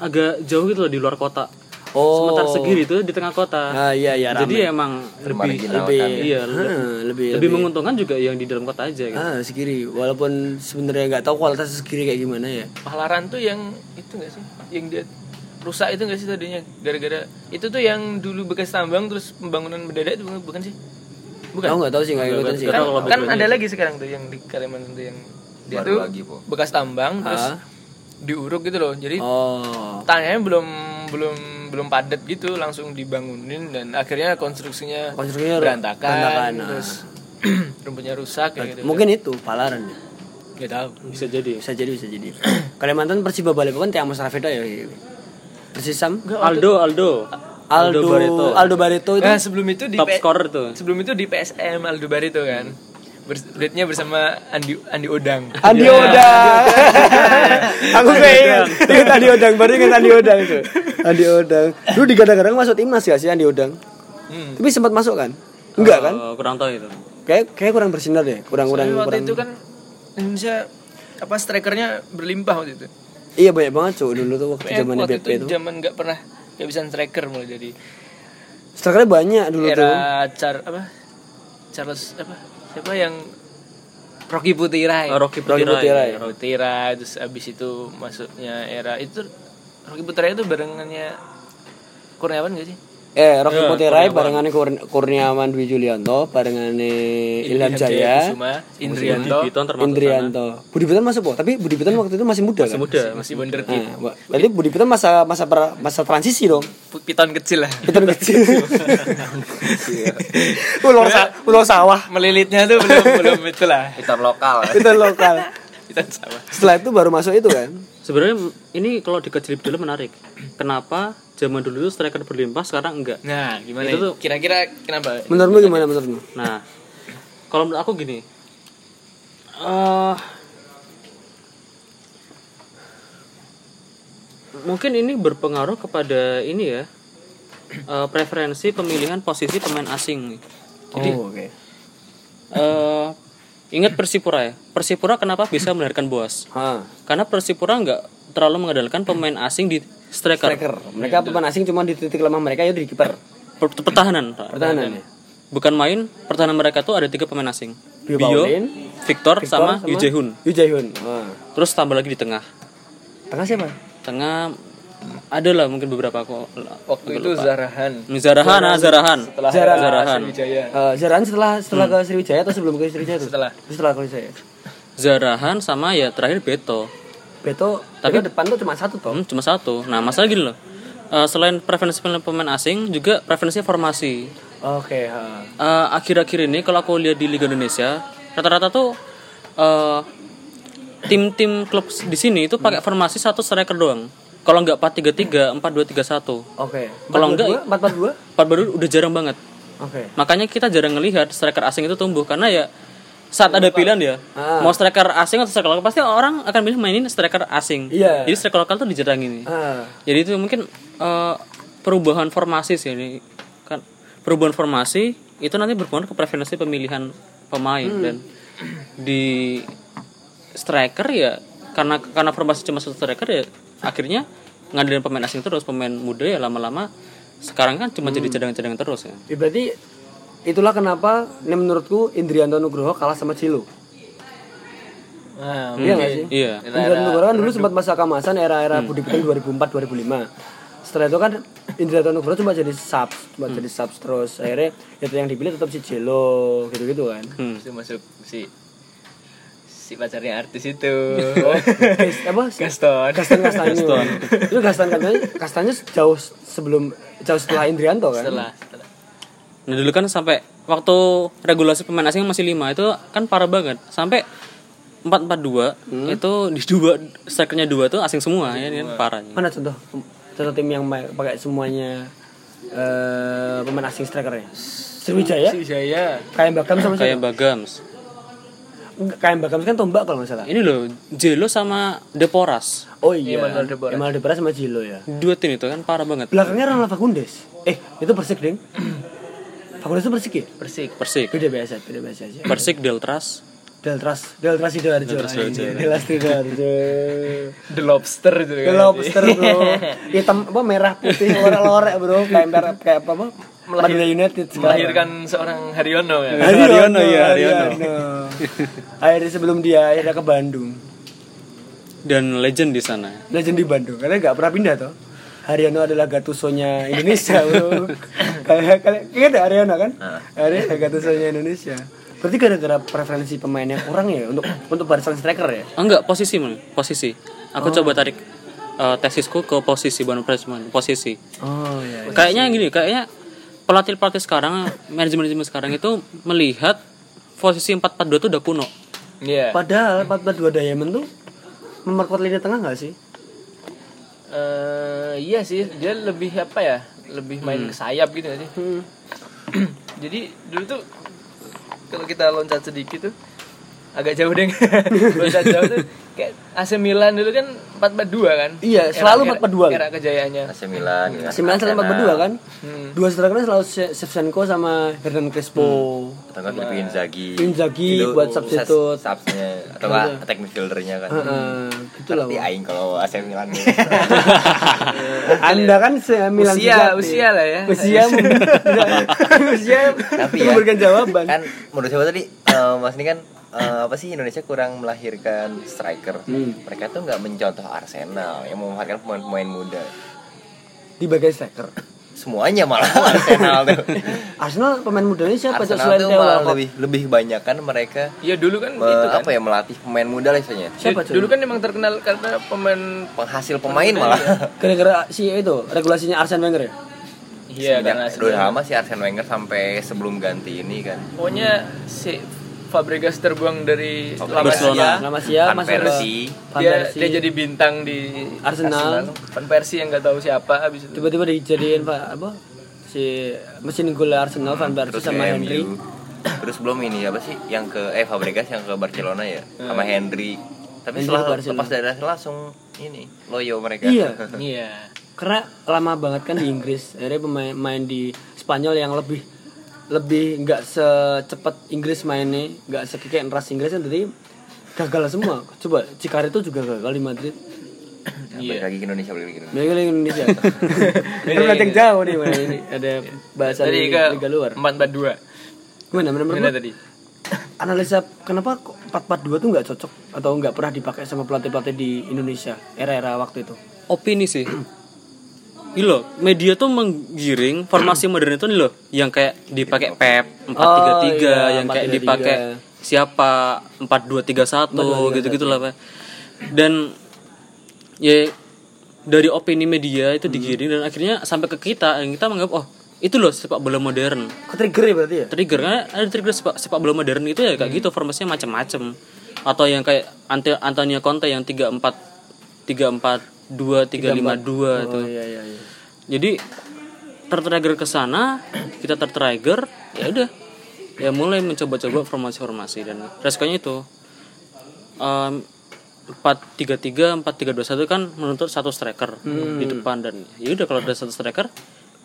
agak jauh gitu loh di luar kota Oh. sementara segiri itu di tengah kota Ah iya iya rame. jadi emang lebih Marginal lebih, kan. iya Hah, lebih, Ah, lebih lebih menguntungkan juga yang di dalam kota aja gitu. ah segiri walaupun sebenarnya nggak tahu kualitas segiri kayak gimana ya Pahlaran tuh yang itu enggak sih? Yang dia rusak itu enggak sih tadinya gara-gara itu tuh yang dulu bekas tambang terus pembangunan mendadak itu bukan sih? Bukan. aku nggak tahu sih nggak ikutin sih nggak kan, tahu kalau kan bedanya. ya. ada lagi sekarang tuh yang di Kalimantan tuh yang dia Baru tuh lagi, Po. bekas tambang terus Ah. diuruk gitu loh jadi oh tanahnya belum belum belum padat gitu langsung dibangunin dan akhirnya konstruksinya Konstruksinya berantakan, berantakan, ah. terus rumputnya rusak kayak gitu mungkin itu palaran ya nggak tahu bisa jadi bisa jadi bisa jadi Kalimantan Persiba Balikpapan Tiang Mas Rafida ya Persisam Aldo Aldo Aldo Barreto. Aldo Barreto itu nah sebelum itu di top P- scorer tuh sebelum itu di PSM Aldo Barito kan Bers- duetnya bersama Andi Andi Odang Andi Iya, Odang aku kayak ingat ingat Andi Odang baru ingat Andi Odang tuh Andi Odang lu digadang-gadang masuk timnas gak sih Andi Odang Hmm. tapi sempat masuk kan enggak kan Eh, kurang tahu itu kayak kayak kurang bersinar deh kurang kurang Tapi waktu kurang itu kan Indonesia apa strikernya berlimpah waktu itu Iya banyak banget cuy dulu tuh waktu Eh, zamannya waktu BP itu itu. zaman nggak pernah nggak bisa striker mulai dari Strikernya banyak dulu tuh. era Char apa Charles apa siapa yang Oh, Rocky Putirai Eh, Rocky Rocky Putirai. Putirai Rocky Putirai terus abis itu masuknya era itu Iya, Rocky Putirai itu barengannya Kurniawan gak sih eh Rocky Mutiara barengane Kur- Kurniawan Dwi Julianto barengane Ilham Jaya Indrianto Biton termasuk Indrianto Budi Bitan masuk kok tapi Budi Bitan waktu itu masih muda kan muda masih Hmm. wonderkid Nah, wa- berarti Budi Bitan masa masa pra- masa transisi dong piton kecil lah Bitan kecil Iya. ulur sa- ulur sawah melilitnya tuh belum belum itu lah Kita lokal. Bitan lokal piton sama setelah itu baru masuk itu kan sebenarnya ini kalau dikecilin dulu menarik kenapa zaman dulu itu striker berlimpah sekarang enggak nah gimana Itu itu tuh- kira-kira kenapa menurutmu gimana menurutmu Nah, kalau menurut aku gini, eh mungkin ini berpengaruh kepada ini ya eh, preferensi pemilihan posisi pemain asing. Jadi, Oh, eh, ingat Persipura ya. Persipura kenapa bisa melahirkan Boas? ha Karena Persipura nggak terlalu mengandalkan pemain asing di striker, striker mereka pemain asing cuma di titik lemah mereka ya di kiper Per- pertahanan. pertahanan ya Bukan main pertahanan mereka tuh ada tiga pemain asing. Bio Paulin, Victor, sama, sama Yu Jae-hoon. Ah. Terus tambah lagi di tengah. tengah siapa Tengah ada lah mungkin beberapa kok. waktu itu Zarahan Zarahan, ah, Zarahan. Zarahan. Zarahan. Jaya Eh, Zarahan setelah setelah ke Sriwijaya atau sebelum ke Sriwijaya itu? Setelah. Setelah ke Sriwijaya. Zarahan sama ya terakhir Beto. Beto, tapi depan tuh cuma satu toh. Hmm, cuma satu. Nah, masalah gini loh. Eh, selain preferensi pemain asing juga preferensi formasi. Oke, ha. Eh, akhir-akhir ini kalau aku lihat di Liga Indonesia, rata-rata tuh eh, tim-tim klub di sini itu pakai formasi satu striker doang. Kalau nggak 4-3-3, 4-2-3-1. Oke. Kalau enggak- 4-4-2? 4-4-2? Empat baru udah jarang banget. Oke. Makanya kita jarang ngelihat striker asing itu tumbuh karena ya saat ada pilihan ya Ah. mau striker asing atau striker lokal pasti orang akan pilih mainin striker asing. Iya. Jadi striker lokal tuh dijarangin. Ah, Jadi itu mungkin eh, perubahan formasi sih ini kan perubahan formasi itu nanti berpengaruh ke preferensi pemilihan pemain Hmm. dan di striker ya karena karena formasi cuma satu striker ya akhirnya ngandelin pemain asing terus pemain muda ya lama-lama sekarang kan cuma Hmm. jadi cadangan-cadangan terus ya. ya berarti itulah kenapa ini menurutku Indrianto Nugroho kalah sama Cilo. nah, Iya nggak sih? Iya. Indrianto Nugroho kan dulu sempat masa kemasan era-era Hmm. Budi Petan 2004-2005. Setelah itu kan Indrianto Nugroho cuma jadi sub, cuma Hmm. jadi sub terus. Akhirnya ya yang dipilih tetap si Cilo gitu-gitu kan. Hmm. habis itu masuk si si pacarnya artis itu Guys, Oh, apa? Gaston Gaston Kastanyo. Itu Gaston Kastanyo, Kastanyo jauh sebelum jauh setelah Indrianto kan? setelah setelah Nah dulu kan sampai waktu regulasi pemain asing masih 5 itu kan parah banget. Sampai 442 itu di dua strikernya dua tuh asing semua ya ini kan parahnya. Mana contoh contoh tim yang ma- pakai semuanya eh pemain asing strikernya? Sriwijaya, si Jaya Kayak Bagam sama siapa? Kayak Bagams. Enggak, Kayak Bagam kan tombak kalau nggak salah. Ini loh Jelo sama Deporas. Oh iya, Emal Debora. sama Jilo ya. Dua tim itu kan parah banget. Belakangnya Ronald Fagundes. Eh, itu Persik, Ding. Fagundes itu Persik ya? Persik Persik. Beda biasa, beda biasa aja. Persik Deltras. Deltras, Deltras Sidoarjo. Anjir, Deltras Sidoarjo. The Lobster itu The kan lobster bro hitam apa merah putih lorek-lorek bro kayak merah kayak apa apa Madura United sekarang melahirkan seorang Haryono ya Haryono ya Haryono akhirnya sebelum dia akhirnya ke Bandung Dan legend di sana. legend di Bandung karena nggak pernah pindah toh Haryono adalah gatusonya Indonesia bro kalian kalian ingat ya Haryono kan Haryono adalah gatusonya Indonesia berarti gara-gara preferensi pemain yang kurang ya untuk untuk barisan striker ya Ah, enggak, posisi Mon. Posisi. Aku coba tarik eh, tesisku ke posisi Banu Pressman, posisi. oh iya Kayaknya gini, kayaknya pelatih-pelatih sekarang, manajemen-manajemen sekarang itu melihat posisi 442 itu udah kuno. Iya. padahal 442 Diamond tuh memperkuat lini tengah nggak sih Eh, iya sih, dia lebih apa ya? Lebih main Hmm. ke sayap gitu gak sih? Jadi dulu tuh kalau kita loncat sedikit tuh agak jauh deh. loncat jauh tuh kayak AC Milan dulu kan 4-4-2 kan? Iya, selalu 4-4-2. Era kejayaannya. AC Milan ya. Sembilan sama Arsenal. berdua kan? Dua strikernya selalu Se- Shevchenko sama Hernan Crespo. Atau enggak Filipin Inzaghi. Inzaghi Itu buat sus- substitute. subsnya atau enggak attack midfieldernya kan. Heeh, gitu lah. Tapi aing kalau AC Milan. Anda kan se Milan Usia, juga, usia nih. lah ya. Usia, mem- usia Tapi ya. memberikan jawaban. kan menurut saya tadi eh, Mas ini kan eh, apa sih Indonesia kurang melahirkan striker. Hmm. Mereka tuh nggak mencontoh Arsenal yang memanfaatkan pemain-pemain muda. Di bagian striker. semuanya malah Arsenal tuh. Arsenal pemain mudanya siapa? Cok? Arsenal Selain tuh Theo malah Walcott. lebih lebih banyak kan mereka Iya dulu kan me- Gitu itu kan. apa ya melatih pemain muda lah istilahnya. Siapa, Du- cuy? Dulu kan emang terkenal karena pemain Penghasil pemain malah. Gara-gara si itu regulasinya Arsene Wenger ya. Iya karena Semenjak- Udah lama sih Arsene Wenger sampai sebelum ganti ini kan. pokoknya si Fabregas terbuang dari Fabregas. Barcelona. Barcelona. Lama Sia Van masuk ke Persie. Van Dia, Persie. dia jadi bintang di Arsenal. Van Persie yang nggak tahu siapa abis itu. Tiba-tiba dijadiin Pak apa? Si mesin gol Arsenal Van Persie Terus sama ke Henry. MU. Terus belum ini apa sih yang ke eh Fabregas yang ke Barcelona ya sama Henry. Tapi Hmm. Henry ke setelah Barcelona. lepas dari Arsenal langsung ini loyo mereka. Iya. Iya. Karena lama banget kan di Inggris. Akhirnya pemain main di Spanyol yang lebih lebih nggak secepat Inggris mainnya, nggak sekeken ras Inggris kan jadi gagal semua. Coba Cikarito juga gagal di Madrid. Balik Iya. lagi ke Indonesia balik lagi ke Indonesia. Mereka lagi Indonesia. Ini belajar jauh nih mana ini. Ada bahasa Iya, Tadi dari ke liga luar. empat empat dua. Gimana benar-benar Gimana tadi? analisa kenapa kok 442 tuh nggak cocok atau nggak pernah dipakai sama pelatih-pelatih di Indonesia era-era waktu itu? opini sih Ini loh, media tuh menggiring formasi modern itu nih loh, yang kayak dipakai Pep 433, Oh, iya, yang kayak 4-3-3. dipakai siapa 4231 gitu-gitu lah, Pak. Dan ya dari opini media itu digiring dan akhirnya sampai ke kita yang kita menganggap oh, itu loh sepak bola modern. Ketrigger ya berarti ya? Trigger karena ada trigger sepak, sepak bola modern itu ya kayak Hmm. gitu formasinya macam-macam. Atau yang kayak Ante- Antonio Conte yang 34 342 352 itu Oh iya iya iya. jadi tertrigger ke sana kita tertrigger ya udah ya mulai mencoba-coba formasi-formasi dan resikonya itu empat tiga tiga empat tiga dua satu kan menuntut satu striker Hmm. di depan dan ya udah kalau ada satu striker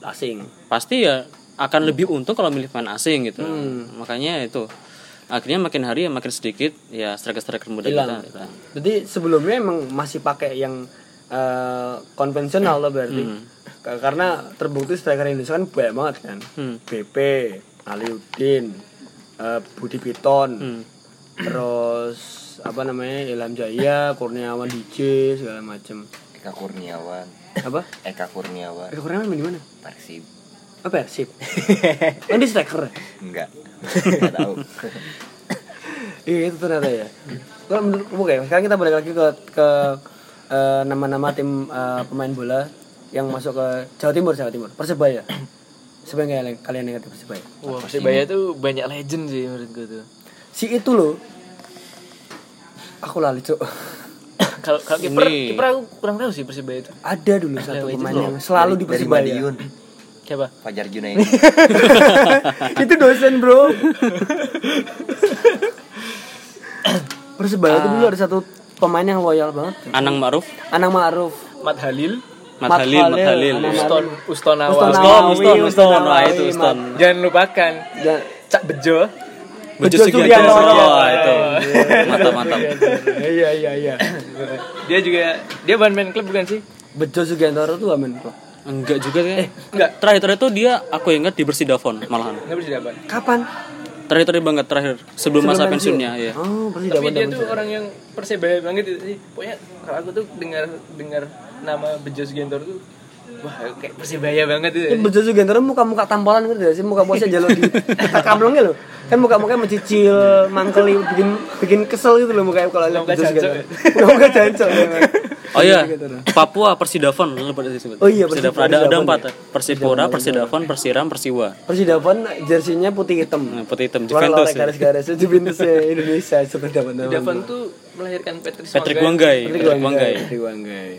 Asing. pasti ya akan lebih untung kalau milih pemain asing gitu Hmm. makanya itu akhirnya makin hari ya makin sedikit ya striker-striker muda Hilang. kita gitu. Jadi sebelumnya emang masih pakai yang eh, konvensional loh berarti. Ka- Karena terbukti striker Indonesia kan banyak banget kan. BP, Aliudin, eh, Budi Piton, terus apa namanya Ilham Jaya, Kurniawan DJ segala macem. Eka Kurniawan. Apa? Eka Kurniawan. Eka Kurniawan main di mana? Persib. Oh Persib. Kan dia striker. Enggak. Enggak tahu. Iya itu ternyata ya. Kalau menurut kamu kayak sekarang kita balik lagi ke ke eh, nama-nama tim eh, pemain bola yang masuk ke Jawa Timur, Jawa Timur, Persebaya. Siapa yang kalian, kalian ingat di Persebaya? Wah Persibaya tuh banyak legend sih menurut gue tuh. Si itu loh. Aku lali cok. Kalau kalau kiper Ini. kiper aku kurang tahu sih Persibaya itu. Ada dulu satu pemain yang selalu di Dari Persebaya. Madiun. Siapa? Fajar Junaidi. itu dosen bro. Persebaya itu Ah. dulu ada satu pemain yang loyal banget. Anang Ma'ruf Anang Ma'ruf. Mat Halil, Mat Halil Mat Halil Anang Ma'ruf. Uston, Ustonawa. Uston Uston Nawawi, Uston Uston Uston Wah, Nawawi, itu Mat. Uston Jangan lupakan Dan Cak Bejo. Bejo Bejo Sugianto Sugianto. Wah, itu mantap mantap iya iya iya. Dia juga dia bahan main klub bukan sih? Bejo Sugiantoro tuh amin kok. Enggak Eh, juga kayaknya. enggak. Terakhir terakhir tuh dia aku ingat di Persidafon malahan. Nggak bersidapan. Kapan? Terakhir terakhir banget terakhir sebelum, masa pensiunnya ya. Oh, pasti Tapi dapat dia tuh orang yang persebaya banget itu sih. Pokoknya kalau aku tuh dengar dengar nama Bejo Sugianto tuh wah kayak persebaya banget itu. Bejo Sugiantoro muka-muka tampolan gitu ya sih, muka-muka jalur di kita kamlongnya loh. Kan muka-mukanya mencicil, mangkeli, bikin bikin kesel gitu loh mukanya kalau lihat Muka Bejo jancok Sugiantoro. Muka-muka jancok. ya, memang. Oh iya, Papua Persidafon lupa tadi sebut. gitu Oh iya, Persidafon, Persidafon. Ada ada Persidafon, empat Persipura, Persidafon, Persiram, Persiwa. Persidafon jersinya putih hitam. Nah, putih hitam Juventus. Lorek-lorek Ya. Iya, garis-garis Juventus Indonesia kan super dapat Davan tuh melahirkan Patrick Patrick Wanggai. Wanggai, Patrick Patrick Wanggai. Patrick Wanggai.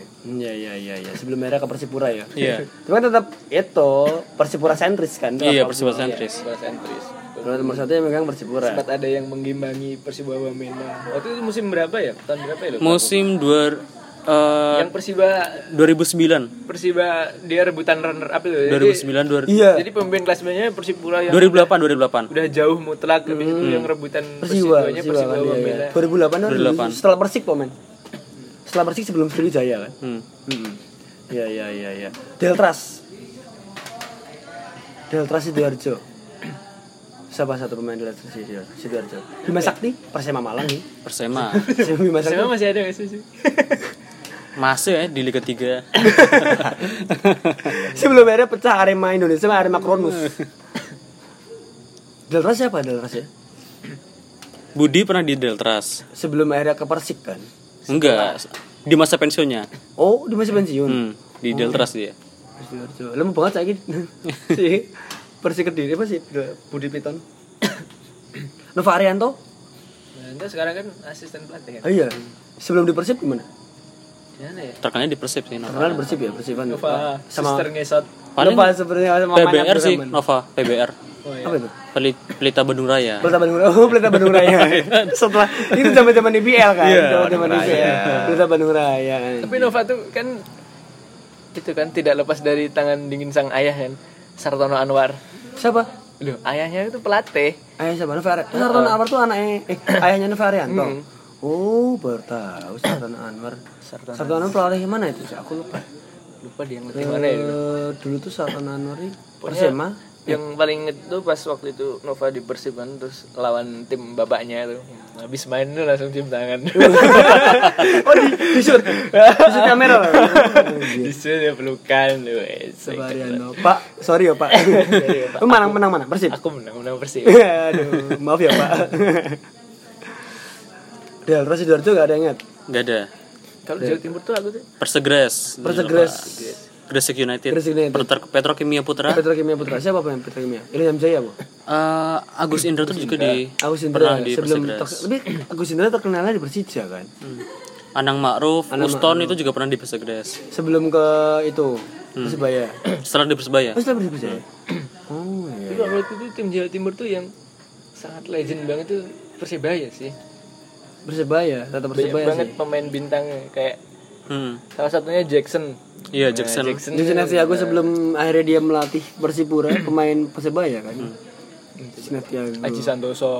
Iya iya iya iya. Sebelum era ke Persipura ya. Iya. Cuma tetap itu Persipura sentris kan. Iya, Persiwa Sentris. Bahasa Inggris. Kalau nomor satu yang megang Persipura. Sempat ada yang mengimbangi Persibawa Wamena. Waktu itu musim berapa ya? Tahun berapa ya? Lho? Musim dua eh, Yang Persiba 2009, Persiba dia rebutan runner up itu. Jadi, 2009, 2000, Iya. jadi pemimpin klasemennya Iya. Persipura yang 2008, 2008. udah jauh mutlak habis itu yang rebutan Persiwa. Persibanya Persiwa Persiba kan Hmm. iya, Wamena. iya. 2008 2008. Setelah Persik pomen. Setelah Persik sebelum Sriwijaya kan. Hmm. Mm-mm. Iya iya iya iya. Deltras. Deltras Sidoarjo. Siapa satu pemain Deltras Sidoarjo? Sidoarjo. Bima Sakti, Persema Malang ya. nih. Iya. Persema. Bima Sakti. Persema masih ada nggak sih? sih? Masuk ya di Liga 3. Sebelum akhirnya pecah Arema Indonesia sama Arema Kronus. Delras siapa Delras ya? Budi pernah di Deltras. Sebelum akhirnya ke Persik kan. Enggak, di masa pensiunnya. Oh, di masih pensiun. Hmm, di Deltras dia. Sidoarjo. Lemu banget saiki. si Persik Kediri apa sih Budi Piton. Nova Arianto? Nanti sekarang kan asisten pelatih kan. Oh, iya. Sebelum di Persib gimana? Gimana ya? Terkenalnya di Persib sih Nova. Terkenal Persib ya, Persiban. Nova sama Sister Ngesot. Paling Nova sebenarnya sama PBR Manak sih Abdurrahman. Nova, PBR. Oh iya. Apa itu? Pelit, Pelita Bandung Raya. Pelita Bandung Raya. Oh, Pelita Bandung Raya. Setelah itu zaman-zaman IPL kan, zaman-zaman IPL. Pelita Bandung Raya. Tapi Nova tuh kan itu kan tidak lepas dari tangan dingin sang ayah kan. Sartono Anwar. Siapa? Loh, ayahnya itu pelatih. Ayah siapa? Nova Arianto. Sartono Anwar tuh anaknya eh ayahnya Nova Arianto. Oh, baru tahu Sartono Anwar. Sartono Anwar pelatih mana itu? sih? Aku lupa. Lupa dia yang ngerti mana ya. dulu. Eh, dulu tuh Sartono Anwar ini Persema. Yang paling inget tuh pas waktu itu Nova di Persib kan terus lawan tim babaknya itu. Habis main tuh langsung cium tangan. oh, di disut. Disut kamera. lah. Disuruh pelukan lu. eh, Nova saya- Arianto. Pak, sorry ya, Pak. Lu menang menang mana? Persib. Aku menang menang Persib. Aduh, maaf ya pak Del, terus Sidoarjo gak ada yang ingat Enggak ada. Kalau di Jawa Timur tuh aku tuh Persegres. Persegres Gresik United. Gresik United. Peter- Petrokimia Putra. Petrokimia Putra, siapa pemain Petrokimia? Ilham Jaya bu Eh, Agus Indra tuh juga di Agus pernah Indra di sebelum Persegres. ter- tapi Agus Indra terkenalnya di Persija kan Hmm. Anang Ma'ruf, Uston itu juga pernah di Persegres. sebelum ke itu Hmm. Persibaya Setelah di Persebaya. oh setelah Persibaya oh iya Tapi waktu itu tim Jawa Timur tuh yang sangat legend banget tuh Persibaya sih. Persibaya tetap Banyak Persibaya banget pemain bintangnya kayak Hmm. salah satunya Jackson. Iya, Jackson. Jackson Jason FC aku sebelum akhirnya dia melatih Persipura pemain Persibaya kan Jason FC aku Hmm. Aji Santoso,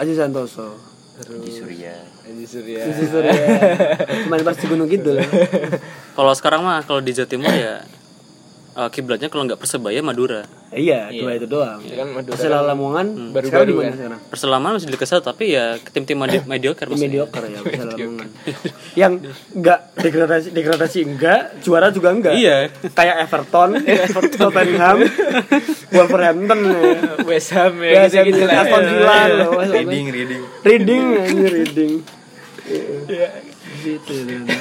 Aji Santoso di Surya Aji Surya. Aji Surya pemain Persib Gunung Kidul Kalau sekarang mah kalau di Jawa Timur ya eh, kiblatnya kalau nggak Persebaya Madura. Iya, dua itu doang. Itu kan Madura Persela Lamongan Baru-baru sekarang di kan? mana sekarang? Perselaman masih di Liga satu, tapi ya ke tim-tim medi- mediocre Di maksudnya. mediocre ya Persela Lamongan. Yang enggak degradasi degradasi enggak, juara juga enggak. Iya. Kayak Everton, Tottenham, Wolverhampton, West Ham ya, West Ham, gitu-gitu lah. Aston Villa, loh, West Ham. Iya, reading reading Reading, ini reading. Gitu,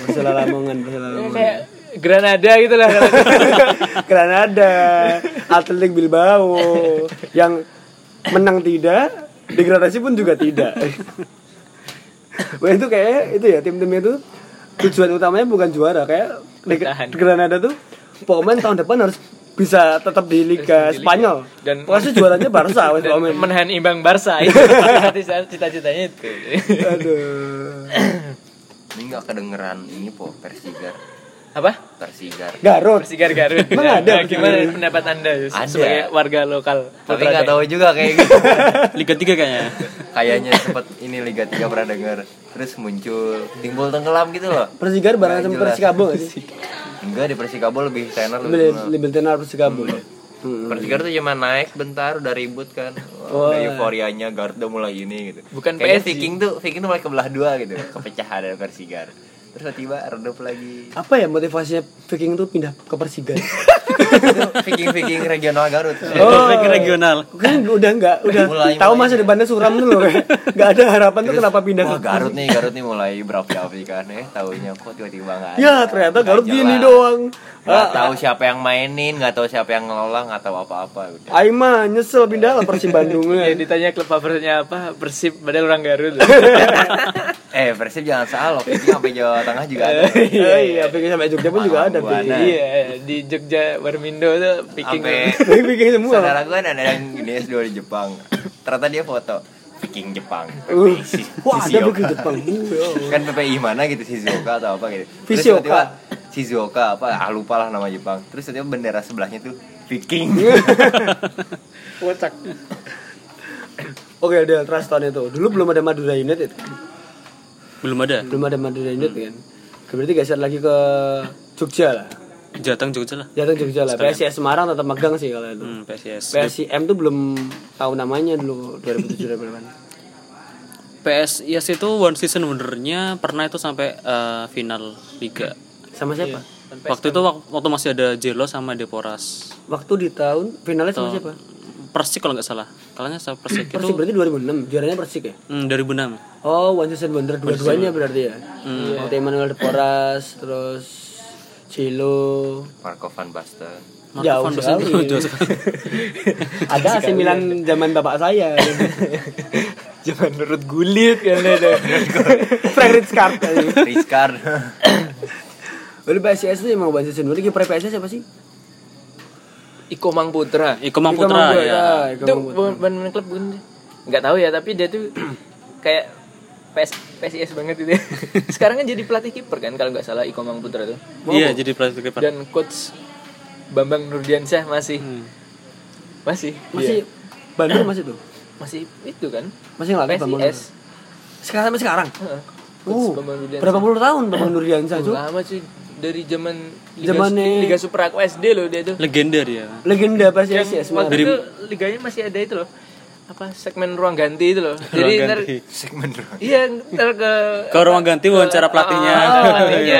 Persela Lamongan, Persela Lamongan. Kayak Granada gitu lah. Granada, Atletik Bilbao yang menang tidak, degradasi pun juga tidak. Wah itu kayak itu ya tim-tim itu tujuan utamanya bukan juara kayak di- Bertahan. di Granada tuh pemain tahun depan harus bisa tetap di Liga Spanyol Dan- dan pasti juaranya Barca wes Dan pemain. menahan imbang Barca itu cita-citanya itu. Aduh. ini nggak kedengeran ini po persigar Apa? persigar Garut. Persigar Garut. Emang ada? Nah, gimana pendapat Anda Yus, Ada. sebagai warga lokal? tapi Putra nggak Dayak? tahu juga kayak gitu Liga 3 kayaknya. kayaknya sempat ini Liga 3 pernah denger terus muncul timbul tenggelam gitu loh Persigar bareng sama Nggak jelas. Persikabo nggak sih? enggak di Persikabo lebih tenar lebih Lebih lebih tenar Persikabo. Hmm. Persigar tuh cuma naik bentar udah ribut kan Wah, udah euforianya Garuda mulai ini gitu Bukan kayaknya PSG. Viking tuh Viking tuh mulai kebelah dua gitu kepecahan dari Persigar terus tiba-tiba redup lagi Apa ya motivasinya Viking tuh pindah ke Persigar? Itu Viking-Viking regional Garut Oh. Liga regional. kan udah nggak udah Mulai, tahu mulai. ya. masa depannya suram tuh loh kayak. nggak ada harapan tuh kenapa pindah Wah ke Garut nih, Garut nih mulai berapi-api kan eh tahunya kok tiba-tiba nggak ada. ya ternyata Nggak Garut jelas. gini doang Ah. Nggak tahu siapa yang mainin, nggak tahu siapa yang ngelola, nggak tahu apa-apa udah. Aima nyesel pindah lah Persib Bandung ya. Ya Iya. ditanya klub favoritnya apa? Persib padahal orang Garut. Eh Persib jangan salah, loh, Viking sampai Jawa Tengah juga ada. iya iya Viking sampai Jogja pun juga ada Buana. Viking Iya, di Jogja Warmindo tuh picking Sampai Iya, Viking semua saudara gue ada yang di S2 di Jepang. Ternyata dia foto Viking Jepang. Uh. Si- wah ada Shizuoka. Viking Jepang Iya. Kan PPI mana gitu Shizuoka atau apa gitu. Terus Shizuoka. tiba-tiba Shizuoka apa ah lupa lah nama Jepang. Terus tiba-tiba bendera sebelahnya tuh Viking. kocak. oke udah trust tahun itu dulu belum ada Madura United Belum ada. belum ada Madura United Hmm. kan berarti geser lagi ke Jogja lah Jateng Jogja lah. jatuh Jogja lah PSIS Semarang tetap megang sih kalau itu Hmm, PSIS. PSIM tuh belum tahu namanya dulu 2007 2008 PSIS itu one season benernya pernah itu sampai eh, final Liga Sama siapa? Waktu itu wak- waktu masih ada Jelo sama Deporas. Waktu di tahun finalnya sama siapa? Persik kalau nggak salah. Kalahnya sama Persik itu Persik berarti 2006, juaranya Persik ya? hmm, 2006. Oh, One Season Wonder dua-duanya berarti ya. Waktu Emmanuel Deporas, terus Cilo. Marco van Basten Jauh sekali. Ada AC Milan zaman bapak saya. Jangan menurut gulit kan ada. Frank Rijkaard kali. Rizkard Lalu PSIS itu emang One Season Wonder, kiper PSIS siapa sih? Iko Mang Putra. Iko Mang Putra ya. Iko Mang Ah, itu Putra. bukan bukan main klub bukan sih? Nggak tahu ya, tapi dia tuh kayak PS PSIS banget gitu ya. Sekarang kan jadi pelatih kiper kan kalau nggak salah Iko Mang Putra tuh. Iya, jadi pelatih kiper. Dan coach Bambang Nurdiansyah masih masih Masih dia. Bandung masih tuh. masih itu kan Masih ngelatih Bambang Nur. PSIS. Sekarang sampai sekarang. Heeh. Coach Uh, Bambang Nurdiansyah. berapa puluh tahun Bambang Nurdiansyah tuh? Lama cuy dari zaman Liga, Zamannya- Liga Super Aku SD loh dia tuh. Legenda dia. Legenda yang PSIS ya. waktu itu liganya masih ada itu loh apa segmen ruang ganti itu loh jadi ntar segmen ruang iya ntar ke Ke ruang ganti wawancara pelatihnya. pelatihnya,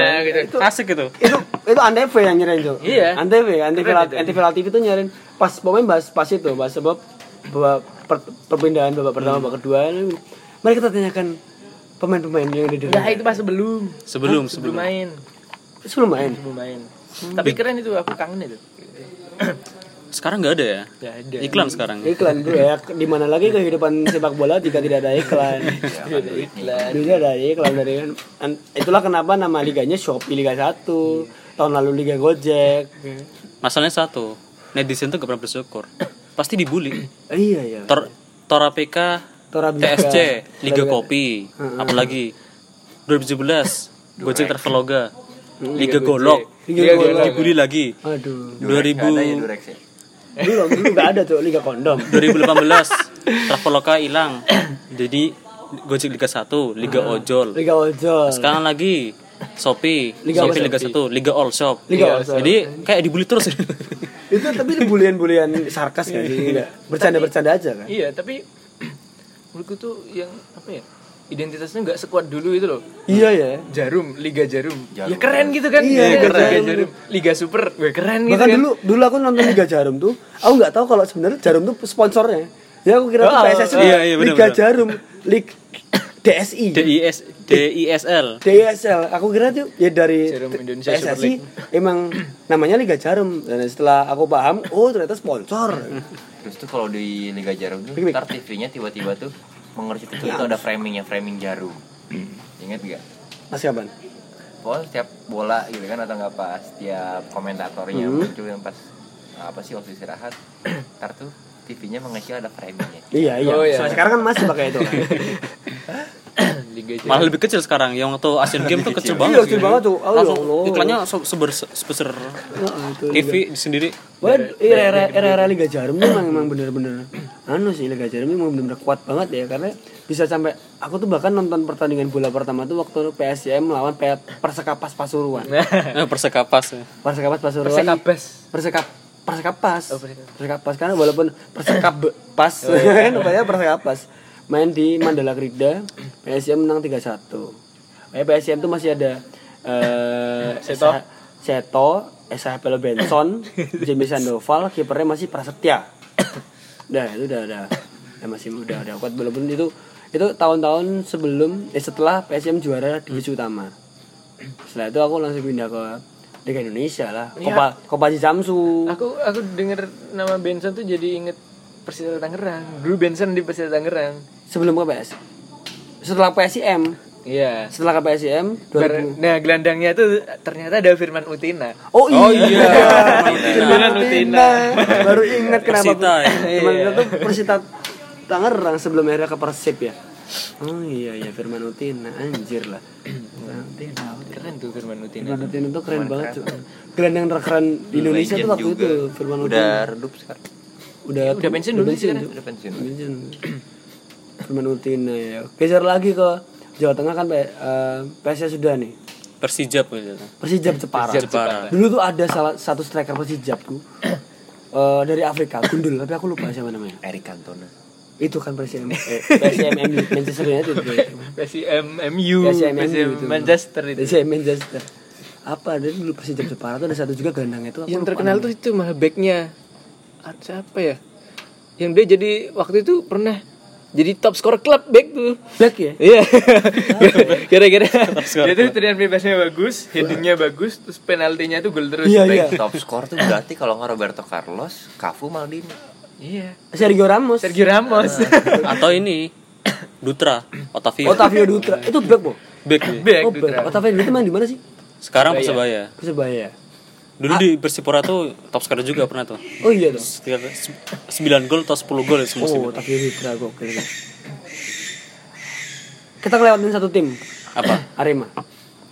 gitu. Asik gitu. itu itu Antv yang nyariin tuh Iya. Antv Antv Lat- Antv Latif itu nyariin pas pemain bahas pas itu bahas sebab bahwa per- perpindahan babak pertama Hmm. babak kedua mereka tertanyakan pemain-pemain yang ada di nah itu pas sebelum Sebelum sebelum sebelum main sebelum main sebelum main tapi keren itu aku kangen itu sekarang nggak ada Eh. ya. Gak ada Iklan sekarang. iklan bro ya di mana lagi kehidupan sepak bola jika tidak ada iklan iklan dulu ada iklan dari kan an- itulah kenapa nama liganya Shopee Liga 1 tahun lalu Liga Gojek Masalahnya satu, netizen tuh gak pernah bersyukur. Pasti dibully. Eh, iya iya Tor Tora PK, Torabika. TSC, Liga Kopi, apalagi 2017 Gojek Traveloga, Hmm, Liga Golok, Liga Golok. dibully lagi. aduh 2000 Durex ya dulu dulu nggak ada tuh Liga Kondom 2018 Traveloka hilang. Jadi Gojek Liga 1, Liga Ojol. Liga Ojol Sekarang lagi Shopee, Liga apa Shopee Iya. Liga 1, Liga All Shop. Iya. Liga All Shop. Jadi kayak dibully terus. itu tapi bulian-bulian sarkas kan sih Nggak. bercanda-bercanda aja kan iya tapi menurutku tuh yang apa ya identitasnya nggak sekuat dulu itu loh iya ya Jarum, Liga Jarum. Ya keren gitu kan. Iya, Liga Liga Jarum. Jarum. Liga Super. Wah, keren gitu bahkan kan. dulu dulu aku nonton Liga Jarum tuh aku nggak tahu kalau sebenarnya Jarum tuh sponsornya ya aku kira tuh Oh, PSSI iya, iya, benar, Liga benar. Jarum Lig DSI DIS DISL. DSL aku kira tuh ya dari Jarum T- Indonesia Super PSSI emang namanya Liga Jarum dan setelah aku paham oh ternyata sponsor terus tuh kalau di Liga Jarum tuh Bik, bik. ntar TV-nya tiba-tiba tuh mengerti itu tuh ada framingnya framing jarum Hmm. ingat gak Mas Kaban Pokoknya setiap bola gitu kan atau nggak pas setiap komentatornya Hmm. muncul yang pas apa sih waktu istirahat ntar tuh TV-nya mengecil ada framingnya iya iya, Oh, iya. Soalnya sekarang kan masih pakai itu kan Liga Jarum. Malah lebih kecil sekarang. Yang waktu Asian Games tuh iya kecil banget. gitu. gitu. kecil banget tuh oh, ya Langsung Allah iklannya se- sebesar sebesar Nah, itu Liga- TV sendiri. Wah, iya, era-era era-era Liga Jarum tuh emang emang bener-bener anu sih Liga Jarum emang bener-bener kuat banget ya karena bisa sampai aku tuh bahkan nonton pertandingan bola pertama tuh waktu PSM melawan P- Persekapas Pasuruan. Eh, Persekapas. Persekapas Pasuruan. Persekabas. Persekap Persekapas. Oh, Persekapas. Oh, iya. Persekapas karena walaupun Persekabas kan namanya Persekapas. Main di Mandala Krida, PSM menang 3-1. Eh PSM tuh masih ada eh Seto. SH Seto, Esa Pelo Benson, Jimmy Sandoval, kipernya masih Prasetya. Udah, itu udah udah ya masih udah udah kuat walaupun itu itu tahun-tahun sebelum eh setelah PSM juara divisi utama setelah itu aku langsung pindah ke Liga Indonesia lah Kopa Kopasi Samsu Aku aku denger nama Benson tuh jadi inget Persita Tangerang. Dulu Benson di Persita Tangerang. sebelum ke PS setelah PSIM Iya. setelah ke PSIM 2000 Nah, gelandangnya tuh ternyata ada Firman Utina. oh iya, Firman Utina. baru ingat kenapa Persita, ya? iya. Firman Utina tuh Persita Tangerang sebelum akhirnya ke Persib ya oh iya iya Firman Utina anjir lah Keren tuh Firman Utina. Firman Utina tuh keren banget kan. cuy gelandang terkeren di Indonesia tuh waktu itu Firman Utina udah redup sekarang udah Udah pensiun dulu sih sekarang. udah pensiun Bensin. Firman Utina ya. Geser lagi ke Jawa Tengah kan P- eh, PSnya sudah nih. Persijap gitu. Persijab Jepara. Jepara. Dulu tuh ada salah satu striker Persijabku eh, dari Afrika, Gundul, tapi aku lupa siapa namanya. Eric Cantona Itu kan PSM eh, PSM MU, Manchester United. PSM MU, PSM PSM Manchester itu. PSM Manchester. apa dari dulu Persija Jepara tuh ada satu juga gelandangnya itu aku yang lupa terkenal tuh itu mah backnya Ah, siapa ya yang dia jadi waktu itu pernah jadi top scorer klub back tuh Black ya Iya. Kira-kira. Dia tuh terian bebasnya bagus, headingnya bagus, terus penaltinya tuh gol terus. Iya, Baik. iya. Top skor tuh berarti kalau nggak Roberto Carlos, Cafu Maldini. Iya. Ah. Sergio Ramos Sergio Ramos. atau ini Dutra Otavio Otavio Dutra itu back bu back dia. Back ya? oh Dutra. back Otavio Dutra main di mana sih sekarang Persebaya Persebaya dulu di Persipura tuh top scorer juga pernah tuh oh iya dong Sekitar se- 9 gol atau 10 gol ya semusim oh Otavio Dutra gokil dong. kita ngelewatin satu tim apa Arema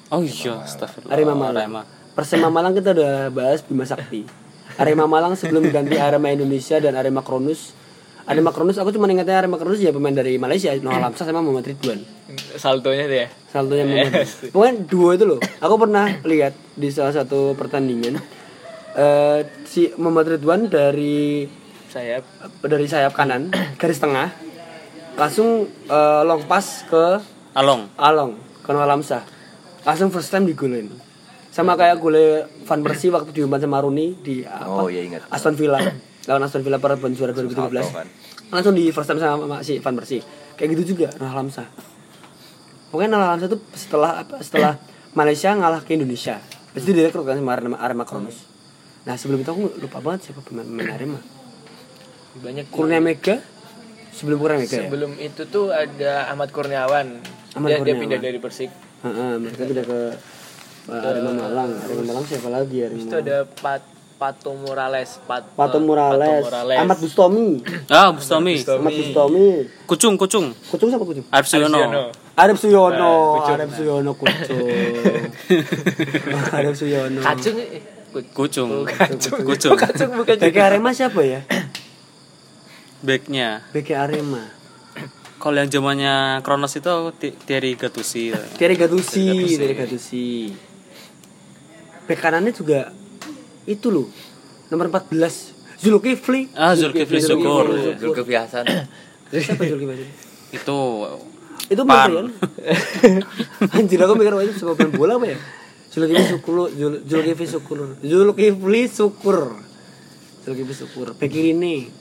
oh iya astagfirullah Arema Malang Arema. Persema Malang kita udah bahas Bima Sakti Arema Malang sebelum ganti Arema Indonesia dan Arema Kronus Arema Kronus aku cuma ingatnya Arema Kronus ya pemain dari Malaysia Eh. Noah Lamsah sama Muhammad Ridwan Saltonya tuh ya. Saltonya Muhammad Ridwan. Pokoknya dua itu loh Aku pernah lihat di salah satu pertandingan eh Si Muhammad Ridwan dari Sayap. dari sayap kanan garis tengah langsung eh, long pass ke Along Along, Konwa Lamsah. Langsung first time digolin. Sama kayak gule Van Persie waktu diumpan sama Rooney di apa? Oh, iya, ingat. Aston Villa. lawan Aston Villa perebut juara Salto, kan? 2013. Langsung di first time sama sama si Van Persie. Kayak gitu juga Noah Lamsah. Pokoknya Noah Lamsah tuh setelah apa, setelah Malaysia ngalah ke Indonesia. Habis itu direkrut kan sama Arema, Arema Kronus. Nah, sebelum itu aku lupa banget siapa pemain pemain Arema. Banyak. Kurnia Mega sebelum Kurnia Mega ya? Sebelum itu tuh ada Ahmad Kurniawan. Ahmad dia, dia Kurniawan. pindah dari Persik. Heeh, mereka pindah ke uh, Arema Malang. Arema Malang siapa lagi ya? Arema Itu ada Pat Pato Morales, Pat, Pato Morales, Pato Morales. Ahmad Bustomi, ah Bustami Ahmad Bustomi, Kucung Kucung Kucung siapa Kucung? Arif Suyono Arif Suyono, Arif Suyono Kucung, Arif Suyono. Kacung eh, Kucung. Kucung Kacung. Kucung Kacung bukan BK Arema siapa ya? backnya BK Arema. kalau yang zamannya Kronos itu Ti- Thierry Gattuso Terry Gatusi, Terry Gatusi. Bek kanannya juga itu loh, nomor 14 Zulkifli. Ah, Zulkifli Syukur. Zulkifli Hasan. Siapa Zulkifli? itu itu Pan. bukan anjir aku mikir wah, itu sebuah pemain bola apa ya Zulkifli Syukur Zul- Zulkifli Syukur Zulkifli Syukur Zulkifli Syukur Bek Irine.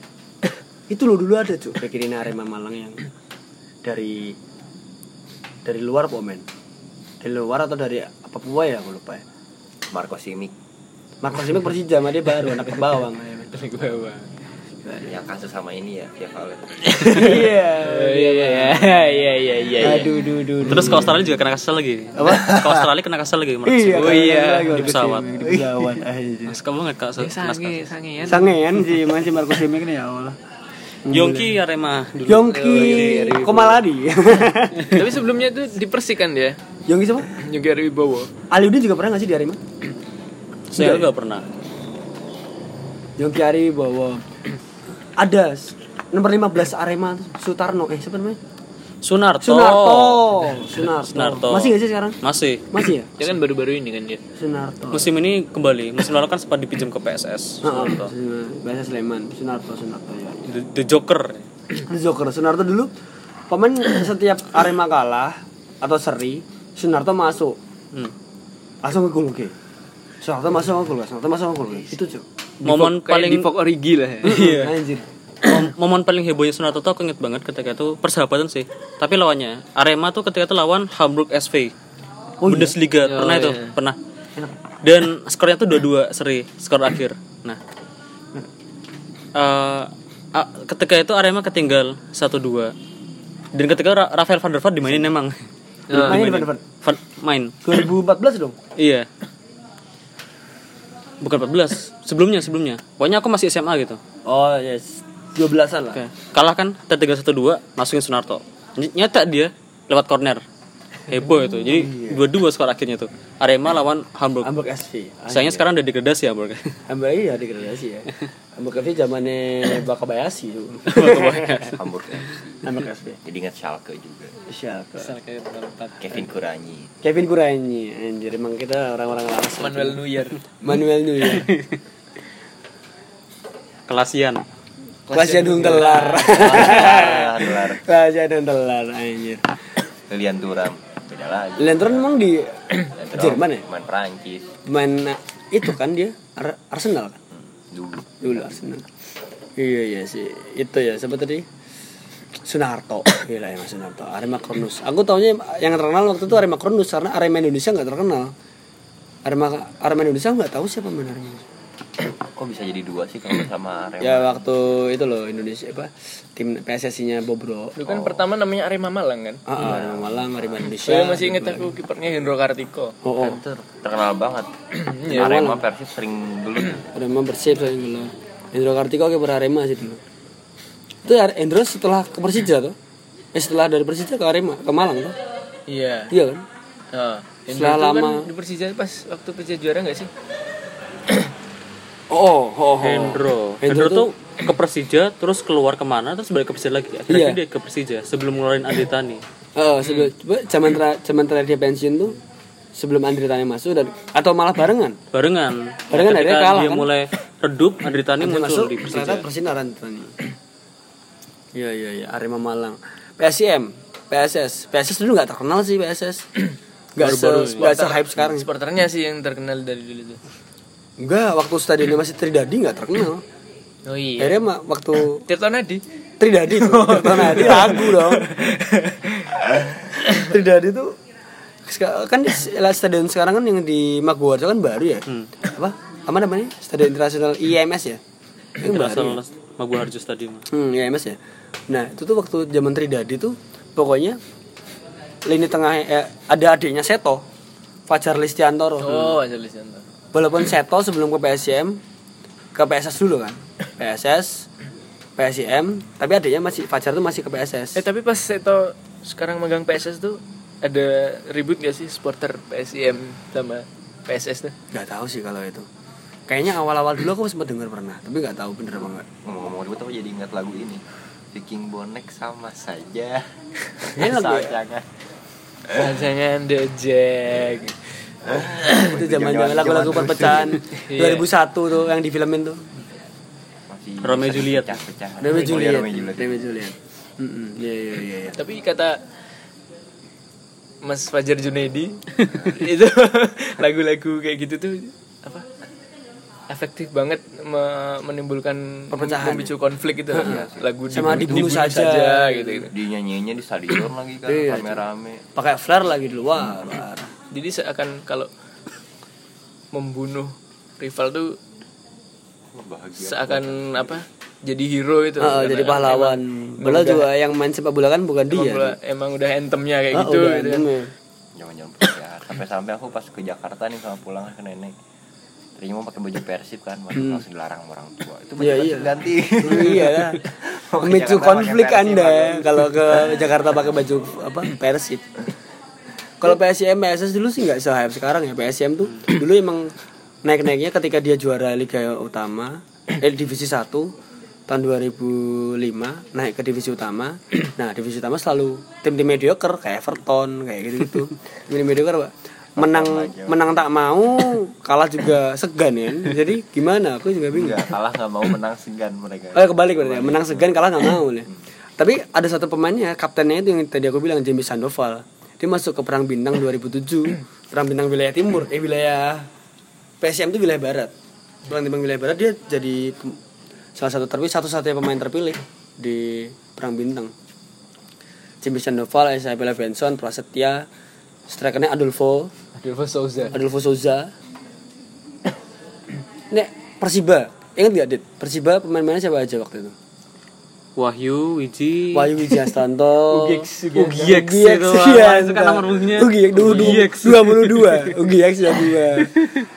itu lo dulu ada cuy Bek Irine Arema Malang yang dari dari luar komen dari luar atau dari Papua ya aku lupa ya Marco Simic Marco Simic Persija sama dia baru anak bawang ya, men. Dari bawah. yang kasus sama ini ya, Via Valen. iya Iya iya iya iya iya iya. aduh duh duh duh. terus ke Australia juga kena kasus lagi Apa? ke Australia kena kasus lagi kemarin. iya Oh, iya, lagi di pesawat. Marco Simic, di pesawat aja Suka banget kak kena kasus. Sange, ya. sangean. Sangean sih, emang si Marco Simic nih ya Allah. Yongki Arema dulu Yongki Komaladi. Tapi sebelumnya tuh di Persik kan dia. Yongki siapa? Yogi Wibowo. Aliudin juga pernah nggak sih di Arema? saya juga pernah Yongki Ari bawa ada s- nomor 15 Arema Sutarno eh siapa namanya? Sunarto Sunarto. Sunarto. Sunarto. Masih nggak sih sekarang? masih Masih ya? Dia kan baru-baru ini kan dia. Sunarto. musim ini kembali musim lalu kan sempat dipinjam ke PSS Ah, ah, Sun- Bahasa Sleman, Sunarto, Sunarto ya. The, The Joker Ada Joker, Sunarto dulu pemain setiap Arema kalah atau seri, Sunarto masuk. Hmm. Langsung ke gol oke. Sunarto masuk ke gol, Sunarto masuk ke gol. oke. Itu cuy. Paling momen Kan paling di Fok Origi lah ya. Anjir. mom- momen paling hebohnya Sunarto tuh aku inget banget ketika itu persahabatan sih tapi lawannya Arema tuh ketika itu lawan Hamburg SV Bundesliga pernah itu pernah dan skornya tuh dua-dua seri skor akhir nah eh, a- ketika itu Arema ketinggal 1-2 dan ketika Ra- Rafael van der Vaart dimainin emang Mainnya di depan-depan. Van- main 2014 dong. Iya. Bukan 14, sebelumnya sebelumnya. Pokoknya aku masih SMA gitu. Oh yes, 12-an lah. Kalah kan T312 masukin Sunarto. Ny- Nyetak dia lewat corner. Heboh itu. Iya. Jadi dua-dua skor akhirnya tuh. Arema lawan Hamburg. Hamburg SV. Sayangnya sekarang udah ya, degradasi Hamburg. Hamburg iya degradasi ya. Hamburg SV zamannya Bakabayashi tuh. Hamburg FC. Hamburg SV. Jadi ingat Schalke juga. Siapa? Kevin Kuranyi. Kevin Guranyi, anjir emang kita orang-orang lawas. Manuel Neuer. Manuel ya. Neuer. Oh. Kelasian. Kelasnya dong telar. Kelar, kelar. Kelasnya dong telar anjir. Lilian Duram. beda lagi Lentron emang di Jerman ya? Jerman Perancis Main nah, itu kan dia Ar- Arsenal kan? dulu Dulu Arsenal. Iya iya sih. Itu ya siapa tadi? Sunarto. Gila ya Mas Sunarto. Arema Kronus. Aku taunya yang terkenal waktu itu Arema Kronus karena Arema Indonesia nggak terkenal. Arema Arema Indonesia nggak tahu siapa main Arema. Indonesia. kok bisa jadi dua sih kalau sama Arema Ya waktu itu loh Indonesia apa tim PSSI-nya Bobro. Dulu kan pertama namanya Arema Malang kan. Ah, ah, Arema Malang, Arema Indonesia. Saya masih inget aku kipernya Hendro Kartiko. Oh, oh. terkenal banget Arema Persib sering dulu Arema Persib saya dulu. Hendro Kartiko kiper Arema sih dulu. Itu Ar- Hendro setelah ke Persija tuh. Eh setelah dari Persija ke Arema, ke Malang tuh. Iya. Iya kan? Nah, Hendro Setelah itu kan lama. di Persija pas waktu Persija juara nggak sih? Oh, oh, oh. Hendro. Hendro Hendro tuh ke Persija terus keluar kemana terus balik ke Persija lagi Iya. akhirnya dia ke Persija sebelum ngeluarin Andetani Eh, sebelum coba zaman ter- zaman terakhir dia pensiun tuh sebelum Andri Tani masuk dan atau malah barengan. barengan Barengan akhirnya ketika kalah, dia kan? mulai redup Andretani Andri muncul masuk di Persija ternyata Persinaran Tani. Iya, iya, iya, Arema Malang. PSM, PSS. PSS dulu nggak terkenal sih PSS. Gak se, nggak se-hype sekarang. Supporternya sih yang terkenal dari dulu tuh. Enggak, waktu stadionnya masih Tridadi nggak terkenal. Oh iya. Akhirnya ma- waktu Tirto Nadi. Tridadi tuh, Tridadi Iya. lagu dong. Tridadi tuh seka- kan di stadion sekarang kan yang di Maguwarjo kan baru ya. Hmm. Apa? Apa namanya? Stadion Internasional IMS ya. Yang baru. Internasional Maguwarjo Stadium Hmm, IMS ya. Nah, itu tuh waktu zaman Tridadi tuh pokoknya lini tengah eh, ada adiknya Seto. Fajar Listiantoro. Oh, Angelis Santo. Walaupun Seto sebelum ke PSM ke PSS dulu kan. PSS PSIM, tapi adiknya masih Fajar tuh masih ke PSS. Eh tapi pas Seto sekarang megang PSS tuh ada ribut gak sih supporter PSIM sama PSS tuh? nggak tahu sih kalau itu kayaknya awal-awal dulu aku sempat dengar pernah tapi nggak tahu bener apa enggak ngomong-ngomong ribut aku jadi ingat lagu ini Viking Bonek sama saja Ini Iya, lagu Asal ya? jangan Rancangan The Jack. itu zaman zaman lagu-lagu perpecahan 2001 tuh yang difilmin tuh masih Romeo bisa Juliet. dipecah-pecah. Romeo Boleh Juliet Romeo Juliet. Romeo Juliet Mm-mm, iya iya iya iya. Tapi kata Mas Fajar Junaidi itu lagu-lagu kayak gitu tuh apa? Efektif banget me- menimbulkan Perpecahan memicu konflik itu lagu Sama dibunuh saja. gitu, gitu. dinyanyiinnya di stadion lagi kan Iya, rame-rame pakai flare lagi dulu wah parah. Jadi seakan kalau membunuh rival tuh Wah, bahagia seakan apa? Jadi hero itu. Ah, jadi pahlawan bola juga yang main sepak bola kan bukan Emang, dia bola- emang udah entemnya kayak Ah, gitu. udah, gitu. bener. jangan-jangan percaya sampai-sampai aku pas ke Jakarta nih sama pulang ke nenek terima pakai baju persib kan waduh, langsung dilarang sama orang tua itu baju Iya, persib iya. ganti iya lah Mau ke memicu Jakarta konflik pakai Persib, anda kalau ke Jakarta pakai baju apa persib kalau PSM PSS dulu sih nggak sehype sekarang ya PSM tuh dulu emang naik naiknya ketika dia juara Liga Utama eh divisi 1 tahun 2005 naik ke divisi utama nah divisi utama selalu tim-tim mediocre kayak Everton kayak gitu gitu tim mediocre pak menang menang tak mau kalah juga segan ya jadi gimana aku juga bingung Enggak, kalah nggak mau menang segan mereka Oh, ya, kebalik berarti ya. Menang segan kalah nggak mau ya. Tapi ada satu pemainnya, kaptennya itu yang tadi aku bilang James Sandoval. Dia masuk ke Perang Bintang 2007. Perang Bintang wilayah timur, eh wilayah PSM itu wilayah barat. Perang Bintang wilayah barat dia jadi pem- salah satu terpilih satu-satunya pemain terpilih di Perang Bintang. James Sandoval, Isabella Benson, Prasetya, strikernya Adolfo, Adolfo Souza. Adolfo Souza. Nek Persiba, ingat gak Dit? Persiba pemain-pemainnya siapa aja waktu itu? Wahyu Wiji Wahyu Wijayanto. Ugieks itu iya, itu kan nomor bener. punggungnya Ugieks du- du- 22. Ugieks ya dua.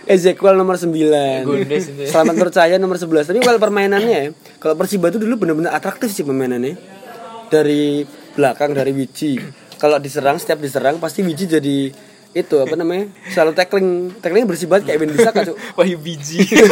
Ezekiel nomor 9. Gondes itu ya. Selamat Percaya nomor 11. Tapi kalau permainannya ya, kalau Persiba itu dulu benar-benar atraktif sih permainannya. Dari belakang dari Wiji. Kalau diserang setiap diserang pasti Wiji jadi itu apa namanya? Selalu tackling, tackling bersih banget kayak Ben bisa Cuk. Wahyu Biji.